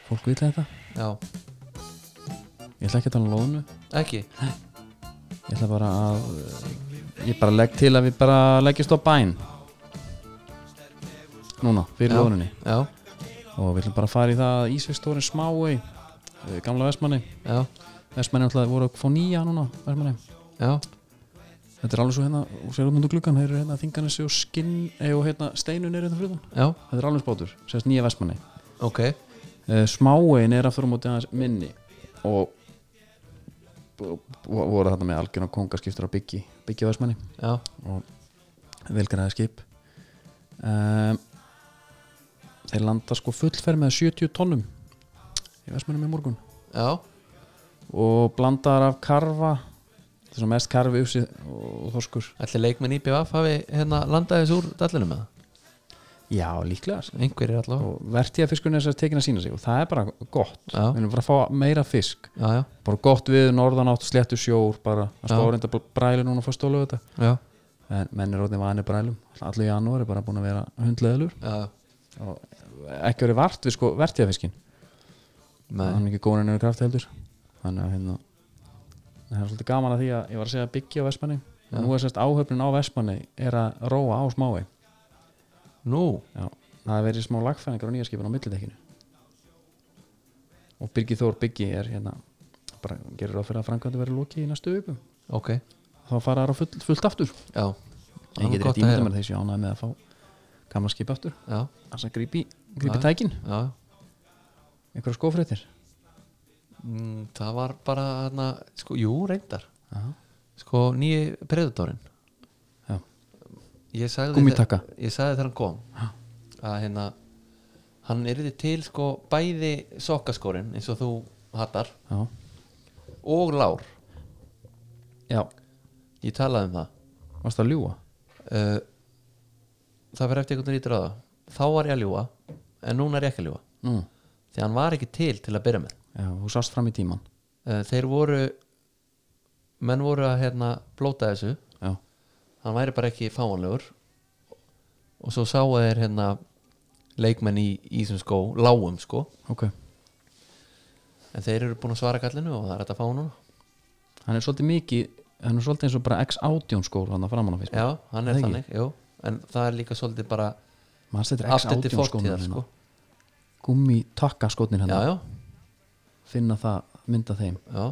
[SPEAKER 1] fólk vil þetta
[SPEAKER 2] já,
[SPEAKER 1] ég ætla ekki að tala um lónu
[SPEAKER 2] ekki
[SPEAKER 1] ég ætla bara að eh, ég bara legg til að við bara leggjast á bæn núna, fyrir
[SPEAKER 2] Já.
[SPEAKER 1] lónunni
[SPEAKER 2] já,
[SPEAKER 1] og við ætlum bara að fara í það að Ísvegstórin smái eh, gamla Vestmanni
[SPEAKER 2] já,
[SPEAKER 1] Vestmanni alltaf voru að fá nýja núna Vestmanni
[SPEAKER 2] já,
[SPEAKER 1] Þetta er alveg svo hérna, og sér út mútu gluggan þeir eru hérna þinganessi og skinn eh, og hérna steinun er hérna fyrir það
[SPEAKER 2] já,
[SPEAKER 1] Þetta er alveg spátur, sérst nýja Vestmanni
[SPEAKER 2] ok
[SPEAKER 1] uh, Smáin er aftur á móti aðeins minni og og- og voru þarna með algjörna kongaskiptur á byggi byggi Vestmanni
[SPEAKER 2] já,
[SPEAKER 1] og velgræði skip um, Þeir landa sko fullferð með 70 tonnum í Vestmanni með morgun
[SPEAKER 2] já,
[SPEAKER 1] og blandaðar af karfa það er svona mest karfi upsi og þorskur
[SPEAKER 2] ætli leikmenn IPVF hafi hérna landaði þessu úr dallunum með
[SPEAKER 1] já, líklega sko.
[SPEAKER 2] það einhver er allavega
[SPEAKER 1] og vertíðafiskurinn er þess að tekin að sína sig og það er bara gott
[SPEAKER 2] Já.
[SPEAKER 1] við erum bara að fá meira fisk
[SPEAKER 2] já, já,
[SPEAKER 1] bara gott við norðanátt, sléttu sjór bara að
[SPEAKER 2] Já.
[SPEAKER 1] spá reynda bræli núna fyrst og lög þetta
[SPEAKER 2] já,
[SPEAKER 1] en menn er orðin vanið brælum allir janúar er bara búin að vera hundleðilur
[SPEAKER 2] já, já.
[SPEAKER 1] og ekki verið vart við sko vertíðafiskin
[SPEAKER 2] Nei.
[SPEAKER 1] hann er ekki góðin ennur kraft heldur þannig að hérna það er svolítið gaman að því að ég var að segja byggja á Vestmanni
[SPEAKER 2] Já.
[SPEAKER 1] nú er sérst áhöfnin á Vestmanni er að róa á smái
[SPEAKER 2] nú,
[SPEAKER 1] Já, það er verið smá lagfæningar á nýja skipin á millidekkinu og Birgir Þór Byggi er hérna bara gerir ráð fyrir að framkvæmdu verið lokið í næstu uppu
[SPEAKER 2] ok
[SPEAKER 1] þá fara það full, fullt aftur
[SPEAKER 2] já,
[SPEAKER 1] ég
[SPEAKER 2] Það er
[SPEAKER 1] get
[SPEAKER 2] gott
[SPEAKER 1] rétt
[SPEAKER 2] að heyra.
[SPEAKER 1] ímynda mér þessi ánæði með að fá gamla skip aftur
[SPEAKER 2] já,
[SPEAKER 1] þess að grípi, grípi
[SPEAKER 2] Já.
[SPEAKER 1] tækin
[SPEAKER 2] já
[SPEAKER 1] einhverja skófréttir
[SPEAKER 2] mm, það var bara hérna, sko, jú, reyndar sko, nýji predatorin
[SPEAKER 1] Já.
[SPEAKER 2] ég sagði
[SPEAKER 1] Gúmmítakka.
[SPEAKER 2] þe- ég sagði þegar hann kom
[SPEAKER 1] Ha.
[SPEAKER 2] að hérna hann yrði til sko bæði sokkaskórin eins og þú hattar
[SPEAKER 1] Já.
[SPEAKER 2] og lár
[SPEAKER 1] Já,
[SPEAKER 2] ég talaði um það
[SPEAKER 1] varst það að ljúga
[SPEAKER 2] uh, það fyrir eftir einhvern rítur á það þá var ég að ljúa en núna er ég ekki að ljúa
[SPEAKER 1] Nú,
[SPEAKER 2] því hann var ekki til til að byrja með
[SPEAKER 1] já, þú sást fram í tíman
[SPEAKER 2] uh, þeir voru menn voru að hérna blóta þessu
[SPEAKER 1] Já,
[SPEAKER 2] hann væri bara ekki fáanlegur og svo sáu þeir hérna leikmenn í ísum skó lágum sko
[SPEAKER 1] ok
[SPEAKER 2] en þeir eru búin að svara kallinu og það er hægt að fá hann núna
[SPEAKER 1] Hann er svolítið mikið, hann er svolítið eins og bara X-18 skór hann að framan á fyrst
[SPEAKER 2] já, hann
[SPEAKER 1] Það
[SPEAKER 2] er
[SPEAKER 1] ekki?
[SPEAKER 2] þannig, jú en það er líka svolítið bara
[SPEAKER 1] Maður setur
[SPEAKER 2] aftur til
[SPEAKER 1] X-18 skóna
[SPEAKER 2] fórtíðar sko.
[SPEAKER 1] hérna? Gummi takka skótnir
[SPEAKER 2] já,
[SPEAKER 1] hérna
[SPEAKER 2] já,
[SPEAKER 1] finna það, mynda þeim
[SPEAKER 2] já,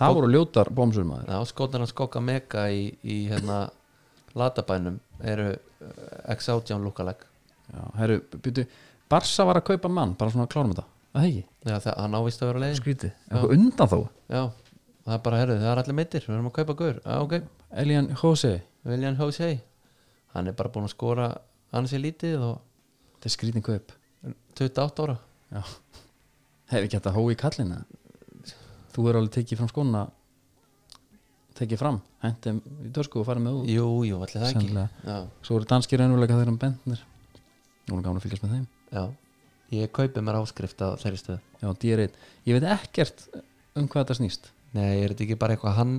[SPEAKER 1] það voru ljótar bómsur maður
[SPEAKER 2] já skotan að skokka mega í, í hérna latabænum eru eh, ex-átján lúkaleg
[SPEAKER 1] já, herru, byrju, Barsa var að kaupa mann bara svona að klárum þetta, að það ekki
[SPEAKER 2] já, það, hann ávist að vera leiðin
[SPEAKER 1] skrítið, eitthvað undan þó
[SPEAKER 2] já, það er bara, herðu, það er allir meittir við erum að kaupa guður, já, ok
[SPEAKER 1] Elian Jose,
[SPEAKER 2] William Jose hann er bara búin að skora hann sé lítið og
[SPEAKER 1] þetta er skrítin kaup
[SPEAKER 2] 28 ára
[SPEAKER 1] já, hefur ekki hægt að hóa í kallina þú er alveg tekið fram skóna tekið fram hendum í törsku og farið með út
[SPEAKER 2] Jú, jú, allir það ekki
[SPEAKER 1] Sennilega.
[SPEAKER 2] já,
[SPEAKER 1] svo eru danskir raunveruleika þeirra um bendnir nú er gaman að fylgjast með þeim
[SPEAKER 2] já, ég kaupi mér áskrift á þeirri stöðu
[SPEAKER 1] já, D1 ég veit ekkert um hvað þetta snýst
[SPEAKER 2] Nei, er þetta ekki bara eitthvað hann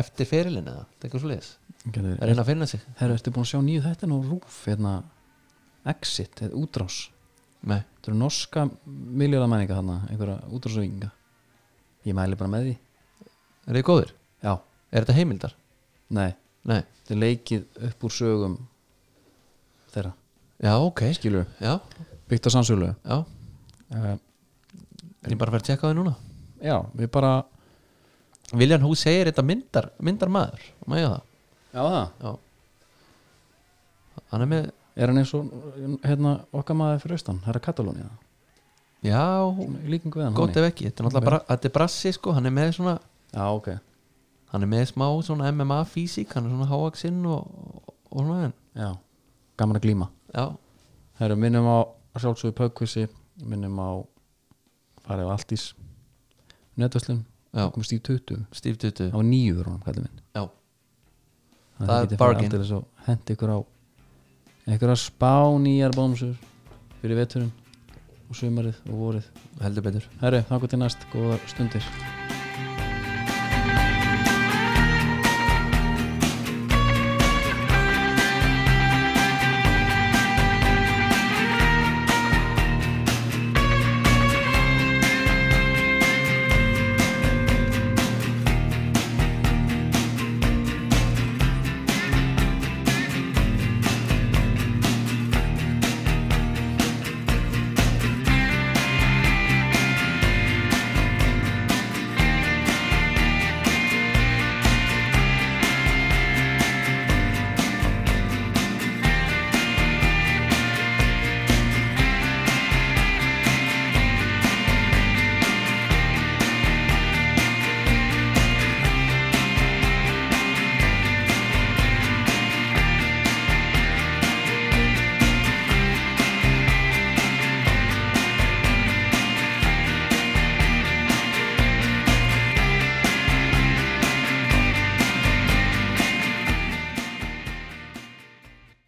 [SPEAKER 2] eftir fyrirlinna, þetta er eitthvað svoleiðis
[SPEAKER 1] Gerður,
[SPEAKER 2] að reyna að finna sig
[SPEAKER 1] Herru, hérna- ertu búin að sjá nýju þetta nú rúf hérna, Exit, eða útrás
[SPEAKER 2] Nei,
[SPEAKER 1] Þetta eru norska miljóðamæninga þarna einhverja útrásvíkinga Ég mæli bara með því
[SPEAKER 2] er þið góður?
[SPEAKER 1] Já,
[SPEAKER 2] Er þetta heimildar?
[SPEAKER 1] nei,
[SPEAKER 2] Nei,
[SPEAKER 1] þetta er leikið upp úr sögum þeirra,
[SPEAKER 2] já, ok
[SPEAKER 1] skilur
[SPEAKER 2] Já,
[SPEAKER 1] byggt á sannsölu
[SPEAKER 2] já,
[SPEAKER 1] uh,
[SPEAKER 2] ég bara verið að tjekka á því núna
[SPEAKER 1] Já, við bara
[SPEAKER 2] Viljan Hú segir þetta myndar, myndar maður Má ég það?
[SPEAKER 1] Já, það
[SPEAKER 2] Já Hann er með,
[SPEAKER 1] Er hann eins og hérna, okkar maður fyrir austan, herra Katalóni
[SPEAKER 2] já,
[SPEAKER 1] Líkingu við hann
[SPEAKER 2] gott
[SPEAKER 1] hann
[SPEAKER 2] ef ekki Þetta er náttúrulega bara, þetta er brassi sko, hann er með svona
[SPEAKER 1] í- Já, ok,
[SPEAKER 2] Hann er með smá svona MMA físík Hann er svona háaksinn og, og svona en
[SPEAKER 1] já, gaman að glíma
[SPEAKER 2] Já,
[SPEAKER 1] Herru, minnum á sjálfsögur pökkvissi minnum á farið á Altís netvæslun,
[SPEAKER 2] Já.
[SPEAKER 1] komist í 20
[SPEAKER 2] stíftutu
[SPEAKER 1] það var nýjur honum, kallið minn
[SPEAKER 2] Já,
[SPEAKER 1] Þannig
[SPEAKER 2] Það
[SPEAKER 1] þið
[SPEAKER 2] er
[SPEAKER 1] getið farið
[SPEAKER 2] bargain.
[SPEAKER 1] aldeilis og hendi ykkur á ykkur að spá nýjar bómsur fyrir veturinn og sumarið og vorið
[SPEAKER 2] heldur betur
[SPEAKER 1] Herru, þakku til næst, góðar stundir